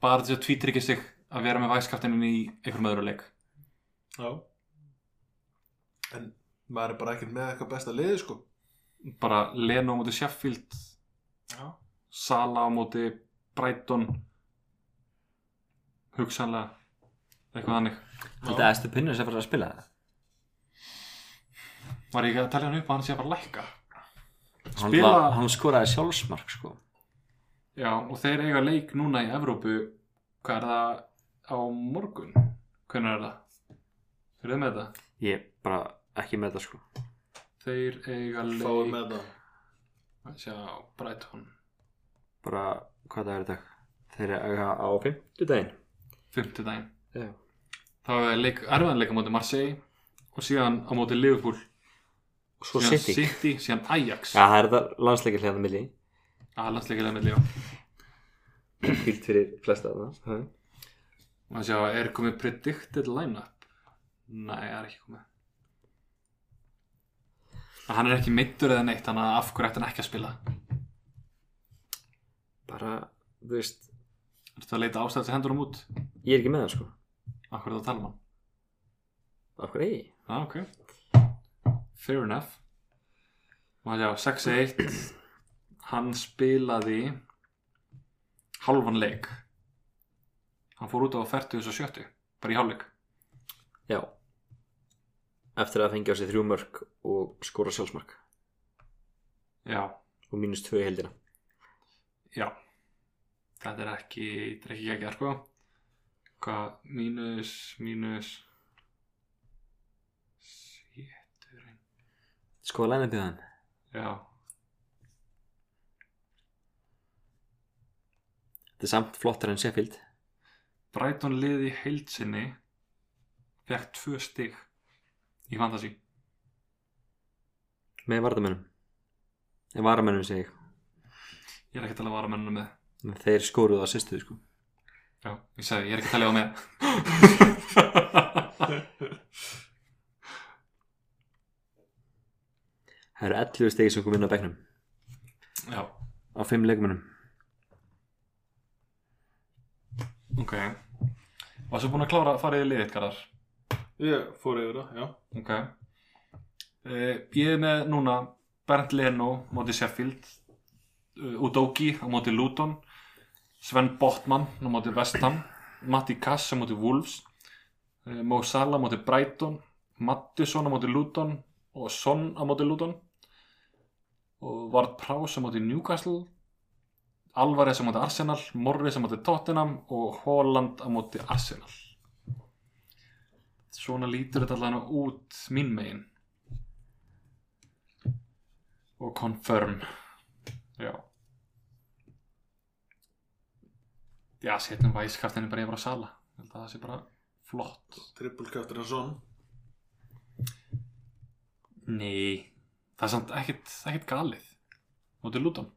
C: bara þess að tvítrykja sig að vera með væskaftininn í einhverjum öðru leik
B: já en maður er bara ekkert með eitthvað besta liði sko
C: bara Leno mútið Sheffield
B: já
C: Sala á móti Brighton hugsanlega eitthvað hannig
A: Þetta er Astur Pinnur sem fyrir að spila það
C: var ég ekki að tala hann upp að hann sé að fara að lækka
A: hann,
C: Spila-
A: var, hann skoraði sjálfsmark sko.
C: já og þeir eiga leik núna í Evrópu hvað er það á morgun hvernig er það þeir eru með þetta
A: ég bara ekki með það sko.
C: þeir eiga
B: Fáum
C: leik
B: með það
C: sjá Brighton
A: bara hvað það er í dag þeir eru að á fimmtudaginn
C: 50 daginn
A: Já.
C: það er leik, erfiðan leik á móti Marseille og síðan á móti Liverpool
A: svo
C: síðan
A: City já
C: City, síðan Ajax
A: það er það landsleikir hlæðan milli
C: aðlandsleikilega með Líó og
A: hvilt fyrir flesta það
C: það sjá, er komið predicted lineup nei, það er ekki komið En hann er ekki meittur eða neitt þannig að af hverju ætti hann ekki að spila
A: bara þú veist
C: ertu að leita ástæðis hendur um út
A: ég er ekki með það sko
C: af hverju það tala um hann
A: af hverju eigi
C: ah, ok, fair enough og það sjá, 6-1 hann spilaði halvan leik hann fór út á 40 og 70 bara í hálfleik
A: já eftir að fengja á sig þrjú mörk og skora sjálfsmark
C: já,
A: og mínus tvö í heldina
C: Já Þetta er ekki, þetta er ekki ekki sko Hvað, mínus, mínus Séturinn
A: skoða lænið við hann
C: Já,
A: þetta er samt flottar en Sheffield
C: Brighton liði í heild sinni Fekk tvö stig Í fantasy
A: með vardamennum eða varamennum segi ég
C: Ég er ekki að tala vara mennum með
A: En þeir skoruðu á sýstu sko
C: Já, ég sagði, ég er ekki að tala á með
A: það eru 11 stegi sem kom inn á bekknum
C: Já,
A: á 5 leikmennum
C: ok Varstu búin að klára að fara í liðið, Garðar?
B: Ég fór yfir það, já
C: Ok uh, Ég er með núna Bernd Leno móti Sheffield uh, Udogi á móti Luton Sven Botman á móti Vestham Matti Kass á móti Wolves uh, Mo Salah á móti Brighton Mattisson á móti Luton og Son á móti Luton og Vard Prás á móti Newcastle Alvarez á móti Arsenal Morris á móti Tottenham og Holland á móti Arsenal svona lítur þetta allan út mín megin og confirm já já, setjum væskaftinni bara yfir á sala Ég held að það sé bara flott
B: Triple Captain and Son
C: nei, það er samt ekkit, ekkit galið mótið lúton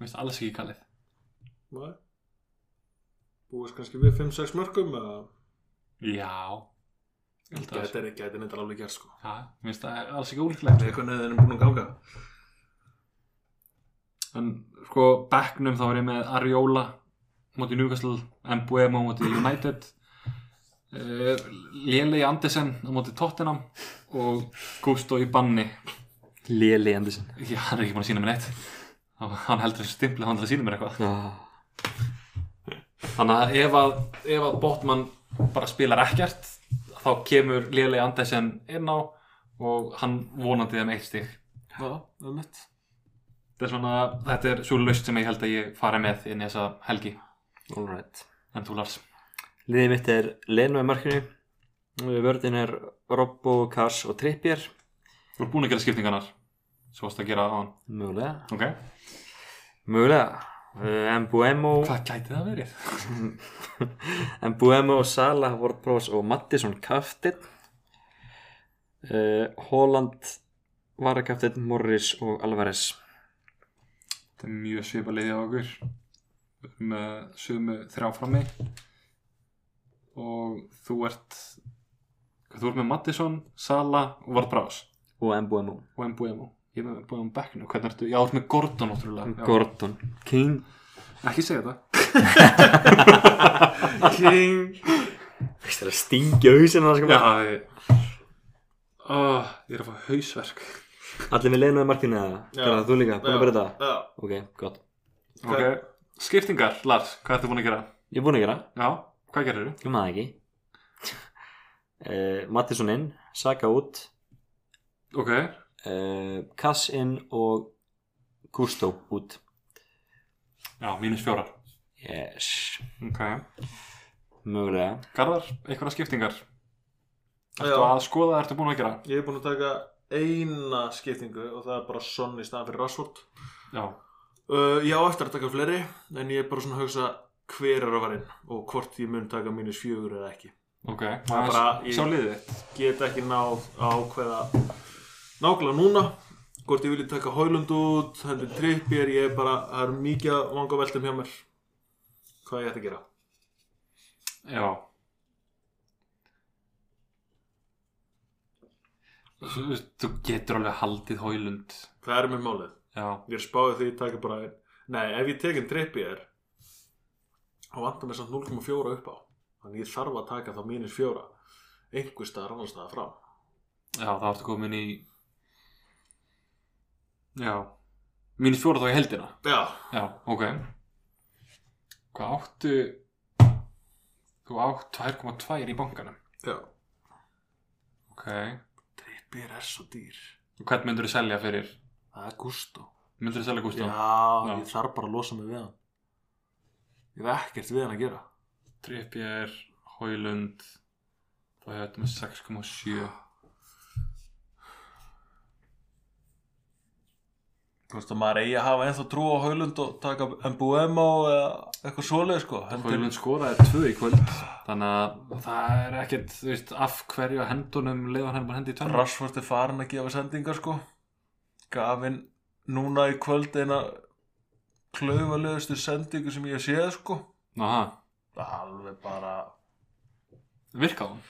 C: veist alls ekki galið
B: Nei Búist kannski við 5-6 mörgum eða
C: já ég held að það sé-
B: Gæti er gæti neitt alveg gert sko
C: Já, mér finnst það alls ekki úlíklegt
B: Með eitthvað neðin er búin að ganga
C: En sko, backnum þá er ég með Ariola móti Newcastle, Mbuemo móti United uh, Lélei Andersen á móti Tottenham og Gusto í banni
A: Lili Andersen
C: Já, hann er ekki búin að sína mér neitt Hann- Hann heldur þessu stimpli, að hann heldur að sína mér eitthvað
A: oh.
C: Þannig að ef að, ef að Botman bara spilar ekkert þá kemur Lélei Andersen inn á og hann vonandi þeim eitt stig
B: Já, um mitt
C: Þetta er svona, þetta er svo laust sem ég held að ég fari með inn í þessa helgi
A: alright
C: en þú Lars
A: liðið mitt er Leno í markinu vörðin er Robbo, Kars og Trippier
C: Þú ert búin að gera skiptingarnar Svo varst að gera á hann
A: mögulega
C: Ok
A: mögulega Eh, Mbuemo
C: Hvað gæti það verið?
A: Mbuemo, Salah, Ward-Prowse og Mattisson kaftin uh, Holland varakaftin, Morris og Alvarez
C: Þetta er mjög svipa leiði á okkur Við erum með sömu þrjá frammi Og þú ert hvað, Þú ert með Mattisson, Sala og Vard Brás
A: og Mbuemo
C: Og Mbuemo Ég er með Mbuemo bekkinu Hvernig ertu? Já, þú ert með Gordon ótrúlega Já.
A: Gordon, King
C: Ekki segja þetta
A: King Veist það er að stingja hausinn á það sko bara.
C: Já oh, Ég er að fá hausverk
A: Allir með leiðinu í markinu eða?
B: Já.
A: Gerða þú líka, búin að
B: Já.
A: byrja þetta?
B: Já,
A: Ok, gott
C: Ok. Skiptingar, Lars, hvað ertu búin að gera?
A: Ég er búin að gera
C: Já, hvað gerir þú?
A: Ég maður ekki uh, Mattisson inn, Saka út
C: Ok,
A: uh, Kass inn og Gusto út
C: já, mínus fjórar
A: Yes,
C: Ok,
A: mögulega
C: Garðar, einhverja skiptingar Ertu
B: Já.
C: að skoða, ertu búin að gera?
B: Ég er búin að taka eina skiptingu og það er bara Son í staðan fyrir Rashford
C: Já,
B: uh, Já, eftir að taka fleiri en ég er bara svona að hugsa hver er að fara inn og hvort ég mun taka mínus fjögur eða ekki
C: ok,
B: er
C: maður
B: bara-
C: bara, sjá liðið þitt
B: get ekki náð að ákveða nákvæmlega núna hvort ég vilji taka Hólund út hendur trippir, ég er bara það er mikið að vanga veltum hjá mér hvað ég ætti að gera
C: Já Þú veist, Þú getur alveg haldið hólund
B: það er mér málið,
C: Já,
B: ég er spáðið því að taka bara nei, ef ég tekin trippir þá vantar mér samt 0,4 upp á þannig ég þarf að taka þá mínus 4 einhver staðar annars staðar fram
C: já, það ertu komin í Já Mínus fjórar þá í heldina
B: já,
C: Já, ok Hvað áttu Þú átt 2,2 í bankanum
B: já
C: Ok
B: trippir er svo dýr
C: Hvern myndur þú selja fyrir?
B: það er gústu
C: Myndur þú selja Gustaf?
B: Já,
C: Já.
B: ég þarf bara að losa mig við hann Ég hef ekkert við hann að gera
C: Trippier, Hólund Þá hefur þetta með 6,7
B: Þú veist að maður eigi að hafa ennþá trú á Haulund og taka Mbuemo eða eitthvað svoleið sko
C: Hólund skoraði 2 í kvöld Þannig að það er ekkert þú veist, af hverju að hendunum leiðan hann bara hendi í tvenn
B: Rassford er farin að gefa sendingar sko Gafinn núna í kvöld eina klaufalegustu sendingu sem ég hef séð sko
C: Aha,
B: Alveg bara,
C: virkaði hún?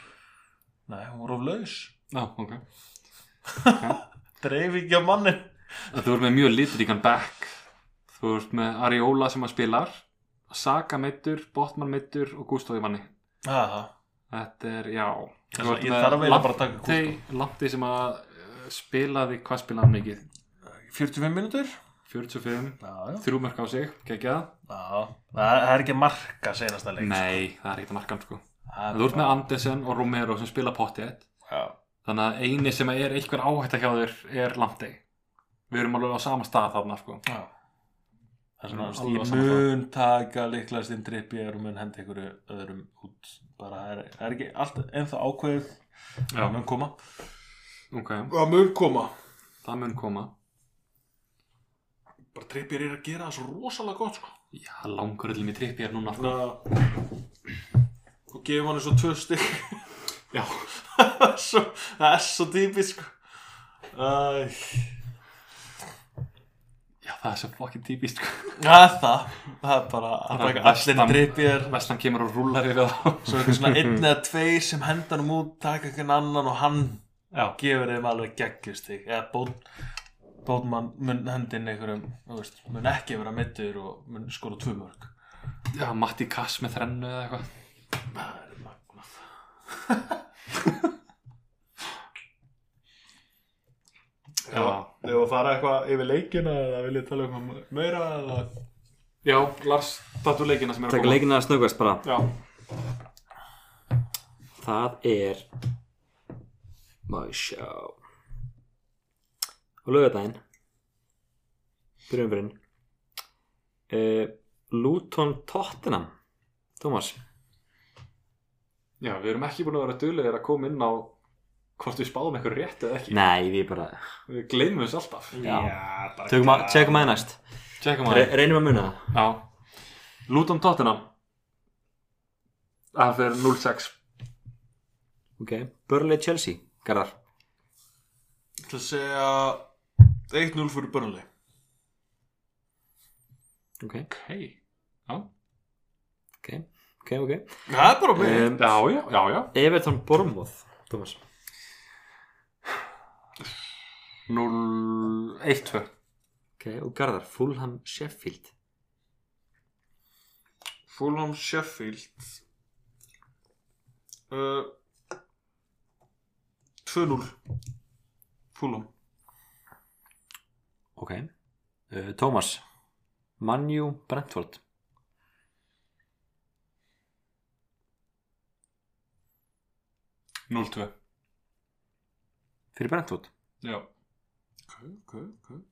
B: nei hún var of laus
C: Já, ok
B: Dreif ekki af mannin
C: Þú ert með mjög litríkan back Þú ert með Ariola sem að spilar Saka meittur, Botman meittur og Gustaf í manni
B: Aha.
C: Þetta er, já
B: Ég þarf eiginlega bara að taka Gustaf.
C: Lanti sem að eh, spilaði, hvað spilaði hann mikið?
B: 45 mínútur
C: 45,
B: Já, já
C: þrjú mörg á sig, geggjað
B: Já, það það er ekki að marka senasta leik
C: Nei, það er ekkert að marka hann sko
B: Það er
C: Þú ert með Andersen og Romero sem spila pottið
B: Já,
C: Þannig að eini sem er einhver áhætta hjá þér er Lanti Við erum alveg á sama stað þarna sko
B: já. Það er svona,
C: Alveg
B: ég
C: sama
B: mun taka líklegast inn drippi og mun henda ykkur öðrum út bara það er, það er ekki allt ennþá ákveðið
C: Já.
B: það mun koma
C: Ok,
B: það mun koma
C: það mun koma
B: bara drippi er að gera það svo rosalega gott sko.
C: Já, langur öllum í trippi er núna sko
B: Ná, og gefum hann svo tvö stygg
C: Já.
B: svo, það er svo típisk Æ,
C: Já, það er svo fokkin típist sko.
B: það er það það er bara að
C: Bara
B: taka allir
C: vestan-
B: drippi er
C: Veslan kemur og rúlar yfir þá
B: svo eitthvað svona einn eða tveir sem hendan um út taka einhvern annan og hann
C: Já.
B: gefur þeim alveg geggjustig eða bót, bótmann mun hendin einhverjum, þú veist, mun ekki vera mittur og mun skora tvö mörg
C: Já, Matti Kass með þrennu eða eitthvað
B: það er magnað Þegar að fara eitthvað yfir leikina eða vil ég tala um meira eða
C: Já, Lars, tattu leikina sem er að
A: Takk
C: koma
A: leikina að snöggast bara
C: Já,
A: Það er Má ég sjá Á laugardaginn Byrjum fyrir uh, Luton Tottenham Thomas
C: já, við erum ekki búin að vera duðlegir að koma inn á hvort við spáðum eitthvað rétt eða ekki
A: Nei, við bara
C: Við gleymum þessu alltaf
A: Já.
B: bara
A: Tökum að, tjekum að næst
C: Tjekkum að
A: Re Reynum að muna það
C: Já Lúton Tottenham Það fer 0-6
A: Ok, Burnley Chelsea Garðar
B: Ég ætla að segja 1-0 fyrir börnli
A: Ok,
C: Ok Já,
A: ok, ok, ok
B: Það er bara mig
A: um,
C: já, já, já, já.
A: Everton Bournemouth Thomas
C: 0-1-2
A: Ok, og Garðar Fulham Sheffield
B: Fulham Sheffield uh, 2-0 Fulham
A: Ok uh, Eh, Thomas Manju Brentford
C: Núl tvö
A: fyrir Brentford
C: Já
B: ok, ok, ok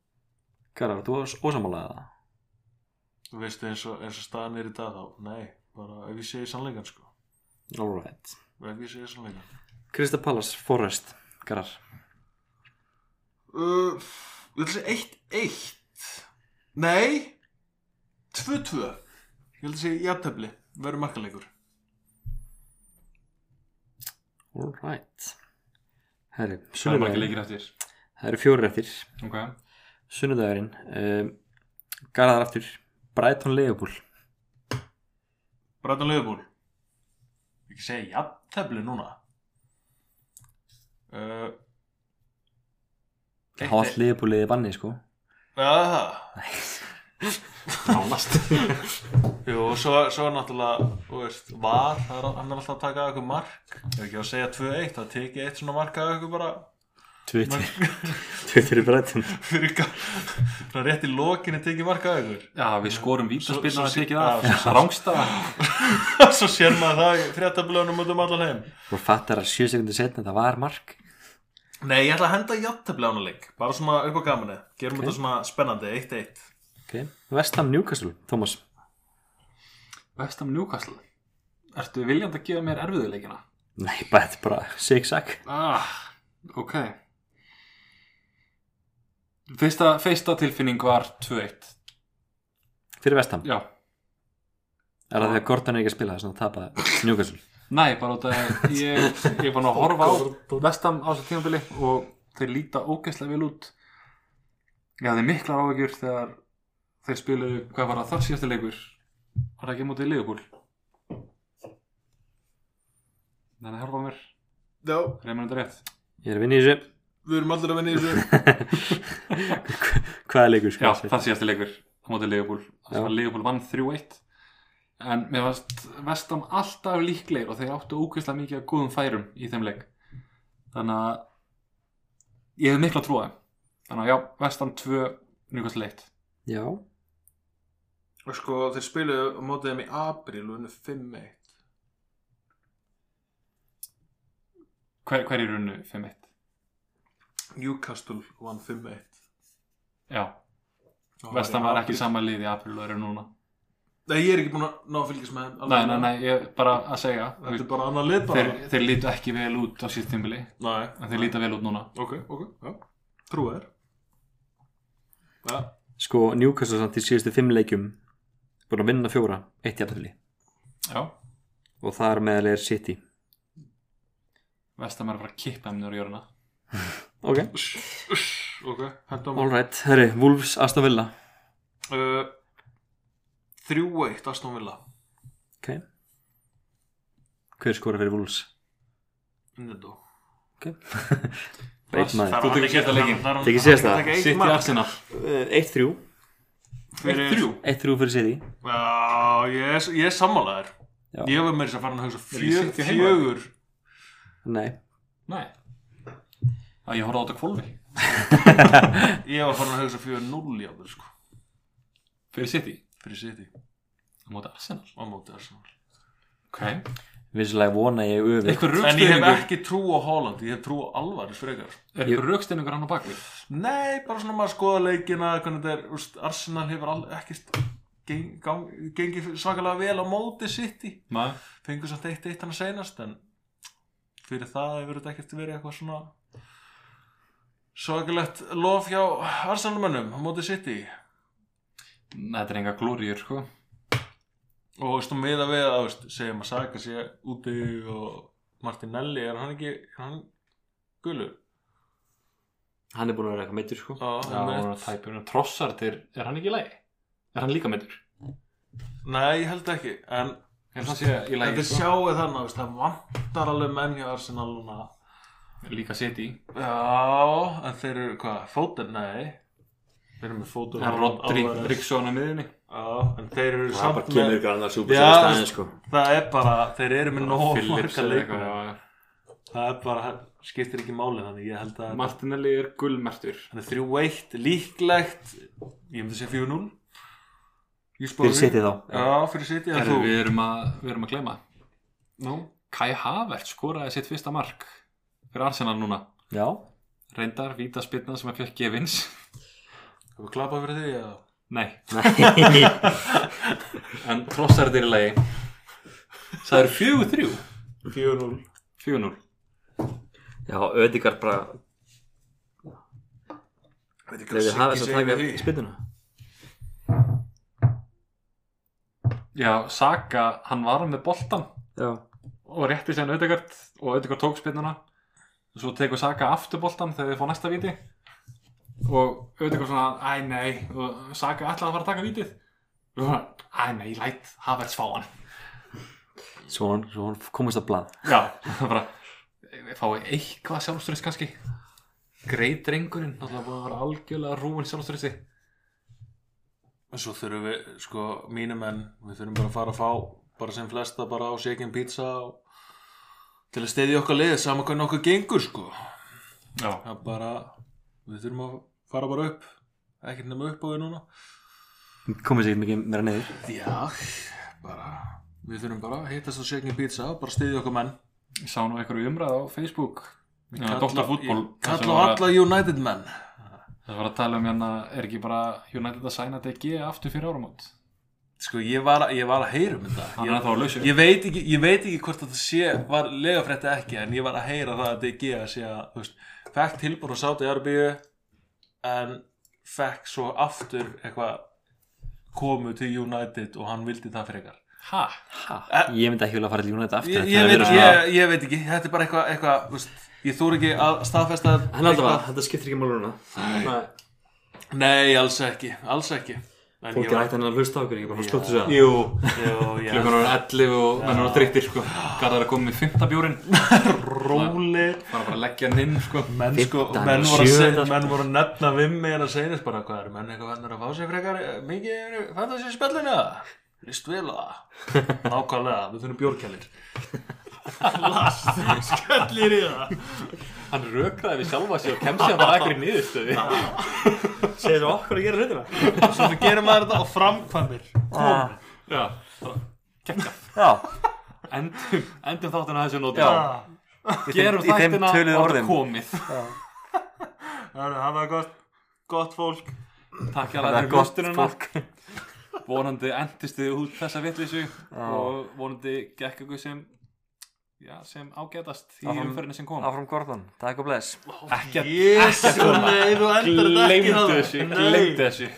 A: Garðar, þú varst ósamálaðið það
B: Þú veist eins og, eins og staðan er í dag þá, nei, bara ef ég segi sannleikan sko,
A: Alright
B: ef ég segi sannleikan.
A: Krista Pallas Forrest Garðar
B: Uh, ég ætla að segja 1-1, nei, 2-2, ég ætla að segja játefli, verður markaleikur.
A: Alright Herri,
C: Það er margir
A: sunnudagurinn
C: leikir eftir
A: Það eru fjórir eftir
C: Ok
A: Sunnudagurinn um, Garðar aftur Brighton Leopold
B: Brætan Leifbúl, ekki segja játefli núna. Uh,
A: Það var allt Leopold liðið banni sko
B: Já, það.
C: Nánast
B: Jú, og svo, svo er náttúrulega, þú veist, var, það er, hann er alltaf að taka eitthvað mark. Ef ekki á að segja 2-1, það tekið eitt svona mark að eitthvað bara...
A: Twitter Twitter í Brighton
B: fyrir gaf svona rétt í lokinni tekið marka að ykkur
C: Já, við skorum vítaspilna
B: Svo-
C: að
B: svo-
C: tekið
B: já,
C: af
B: svo-
C: Rángstaða
B: svo sér maður það í fréttablöðunum út um allan heim
A: og fattar að sjö sekundir setna það var mark
B: Nei, ég ætla að henda játtablaðuna leik bara svona upp á gaminu, gerum þetta svona spennandi 1-1
A: okay. Vestam Newcastle, Thomas
C: Vestam Newcastle Ertu viljandi að gefa mér erfiðuleikina?
A: Nei, bara þetta er bara zig-zag
C: Ah, ok Fyrsta, fyrsta tilfinning var 2-1
A: fyrir Vestam
C: Já,
A: Er það þegar Gordon er ekki að spila þess að tapa Newcastle
C: Nei, bara út að ég, ég er búin að horfa á vestam á þessu tímabili og þeir líta ógeðslega vel út ég hafði miklar áhyggjur þegar þeir spiluðu, hvað var það þar síðasta leikur var það ekki mútið leigubúl þannig að horfa á mér
B: Já,
C: reymur þetta rétt
A: Ég er að vinna í þessu
B: við erum allir að vinna í þessu
A: Hvað er leikur
C: já,
A: sko?
C: það síðasta leikur á mútið leigubúl það
A: Já.
C: sem var leigubúl vann 3-1 en mér varst vestam alltaf líklegir og þeir áttu ógeðslega mikið að góðum færum í þeim leik þannig að ég hef mikla trú á þeim þannig að já, vestam 2 njúkast leitt
A: Já,
B: Og sko, þeir spiluðu á mótið þeim í apríl og unnu 5-1
C: hver, hver er unnu 5-1?
B: Newcastle vann 5-1
C: já,
B: Og það
C: vestam
B: í
C: var
B: apríl.
C: ekki sama lið í april og eru núna
B: Nei, ég er ekki búin að ná að fylgjast með þeim
C: nei, nei, nei, ég, bara að segja þú
B: Þetta
C: veist,
B: er bara annar lið bara
C: þeir, þeir lítu ekki vel út á síðast tímbili
B: Nei,
C: en þeir líta vel út núna
B: Ok, ok, já Trúið er Já
A: sko Newcastle samt í síðustu fimm leikjum búin að vinna fjóra, eitt jafntöfli
C: já,
A: og þar meðal er City
C: vestam er að fara að kippa þeim nýra jörna
A: Ok,
B: Ok, hendur á mig
A: alright, herri, Wolves Aston Villa
B: uh, 3-1 Aston Villa
A: Ok Hver skora fyrir Wolves?
B: Indendó
A: Ok Eitt maður
C: Þú tekur síðasta leikinn.
A: Tekið síðasta?
C: sitt í arsina
A: Eh, Eitt þrjú
B: Fyrir
C: 3
A: Eitt þrjú fyrir City
B: Já, ég er, ég er sammálaður
A: Já.
B: Ég var meira þess að fara að hugsa
C: Er ég
B: fjö,
C: sitt í heima?
B: fjögur
A: Nei
C: Nei Það ég horfði á þetta kvolfi
B: Ég var farin að hugsa fjögur 0 jáfnvel sko
C: Fyrir City
B: Fyrir City
C: Á móti Arsenal
B: á móti Arsenal
C: Ok
A: Vissulega vona ég öfum
C: Eitthvað
B: En ég hef
C: raukstöðningur
B: ekki trú á Holland, ég hef trú á alvaris frekar
C: Er eitthvað raukstöðningur hann á bakvið
B: Nei, bara svona maður skoða leikina hvernig þetta er, úst, Arsenal hefur all, ekkert geng, gang, gengið svakalega vel á móti City
C: Nei
B: fengur samt eitt eitt hann að seinast en fyrir það hefur þetta ekkert verið eitthvað svona svakalegt lof hjá Arsenalmönnum á móti City
C: Þetta er enga glóriur sko
B: og veist, og miða við að veist, segjum að Saka sé úti og Martinelli er hann ekki er hann gulur
A: Hann er búin að vera eitthvað meittur sko
B: Já,
C: Já,
B: einmitt.
C: og tæpur og um- Trossard er, er hann ekki í lagi? Er hann líka meittur?
B: nei, ég held ekki en
C: Er hann sé í
B: þetta
C: lagi
B: er
C: sko?
B: sjáið þannig að veist, það vantar alveg menn hjá Arsenal núna
C: sko? Líka City
B: já, en þeir eru hvað, fótinn? Nei þeir eru með fótinn
C: En Rodri Ríksson á miðinni
B: Já, en þeir eru
A: Það
B: samt
A: bara kemur
B: með
A: ykkur annars
B: Já,
A: úr staðin
B: veist-
A: sko
B: Það er bara, þeir eru með nóg
C: Phillips
B: marga
C: eða
B: leikum
C: eitthvað, já,
B: Það er bara, það skiptir ekki máli þannig Ég held
C: já.
B: að
C: Martinelli er gullmertur
B: Þannig 3-1, líklegt Ég myndi segja 4-0 Ég spáði
A: fyrir
B: því.
A: sitt þá
B: Já, fyrir City en
C: Herru,
B: þú
C: við erum að, við erum að gleyma
B: Nú,
C: Kai Havert skoraði sitt fyrsta mark fyrir Arsenal núna
A: Já,
C: reyndar, vítaspirna sem að fjökk gefins
B: hefur klappað fyrir því eða?
C: nei,
A: Nei.
C: en trossarðir í lagi það eru fjögur þrjú
B: 4-0
C: fjögur núl
A: Já, Ödikar bara
B: Veit ekki hvað
A: Þegar hafa
B: Siggi
A: þess
B: segir
A: að
B: við
A: taka
B: því
A: spinnuna
C: já, Saka, hann var með boltan
A: Já,
C: og rétti sér auðvitað og auðvitað tók spinnuna og svo tekur Saka aftur boltan þegar þið fá næsta viti og auðvitað svona, æ nei og Saka ætlaði að fara að taka vitið og svona, æ nei, læt Havertz fá hann
A: svo hann, svo hann komist að blað
C: já, það bara við fáið eitthvað sjálfströðs kannski greið drengurinn alltaf búin að vera algjörlega rúin sjálfströðsi
B: En svo þurfum við, sko, mínum en Við þurfum bara að fara að fá Bara sem flesta bara á shaken pizza og... Til að steyðja okkar lið Saman hvernig okkur gengur, sko
C: já,
B: Það bara, við þurfum að fara bara upp Ekkert nema upp á við núna
A: Komist ekki mikið meira neyður
B: Já, bara Við þurfum bara að hittast á shaken pizza og Bara steyðja okkar menn
C: ég sá nú einhverju umræð á Facebook
B: Kalla-
C: Dr. Fútbol
B: ég Kalla á alla United menn
C: það var að tala um hérna, er ekki bara United að sæna DG aftur fyrir áramót
B: Sko, ég var, að- ég var að heyra um þetta
C: hann
B: Ég-
C: er þá að lausu
B: Ég veit ekki, ég veit ekki hvort þetta sé var legafrétt eða ekki en ég var að heyra það að DG að sé að þú veist, fekk tilbúin á sátu í Arbíu en fekk svo aftur eitthvað komu til United og hann vildi það fyrir ykkar
C: ha,
A: Ég myndi ekki vilja fara til United aftur
B: Eh,
A: þetta er
B: ég, ég, veit,
A: verið
B: ég,
A: svona-
B: ég veit ekki, þetta er bara eitthvað, eitthvað þú veist, ég þúr ekki að staðfesta
A: En alltaf að
B: eitthvað.
A: þetta skiptir ekki málur núna Fólk
B: Nei, alls ekki, alls ekki En ég
A: er
B: var-
A: hægt henni að hlusta á okkur ekki bara slóttu sig að
B: Jú, jú, já
C: klukkan voru 11 og menn voru dreytir sko gæta að koma með 5. bjórin
B: Róli
C: bara bara að leggja hann inn sko
B: menn sko,
A: Fimmtán,
B: menn voru, að
A: sjöunda,
B: segja,
A: sko.
B: menn voru að nefna við mig en að segja þess bara hvað eru menn eitthvað vennur að fá sér frekar eh, mikið yfir fantasy spellinu líst vel að það?" nákvæmlega, við þurfum bjórkjallir Lars, skellir í það
C: hann rökraði við sjálfa sig og kemst hérna sér bara ekkert í niðurstöði
A: Segðu svo okkur að gera hlutina
B: svo við gerum maður þetta á framkvæmir Ah.
C: já, kekka
A: Já,
C: endum, endum þáttina á þessu
A: Já.
C: nótum
B: Ah.
C: gerum
A: í þeim
C: þættina
A: töluðu
C: og
A: orðum.
C: það komið
B: það var gott, gott fólk
C: takk
A: það
C: alveg
A: er
C: fyrir
A: gott
C: hlustununa
A: fólk
C: vonandi endist þið út þessa vitleysu og vonandi gekk ykkur sem já, sem ágætast í
A: Áfram-
C: umferðinu sem kom
A: Áfram Gordon, takk og bless
C: ekki að
B: jésu, nei, þú endar þetta ekki
C: gleymdu
B: þarna.
C: þessu
B: Nei.
C: gleymdu þessu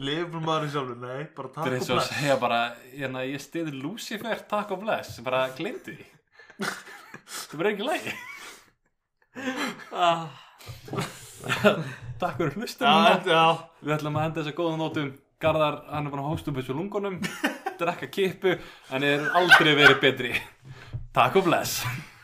B: lifum maður í sjálfu, nei, bara
C: þetta er
B: takk og
C: eins og að
B: bless
C: segja bara hérna, ég stiði Lucifer takk og bless bara gleymdu því það verður ekki lægi takk fyrir hlustununa
B: já, já
C: Við ætlum að enda þess að góða nótum Garðar, hann er bara að
A: um
C: hósta upp þessu lungunum Drekka kipu En er aldrei verið betri Takk og bless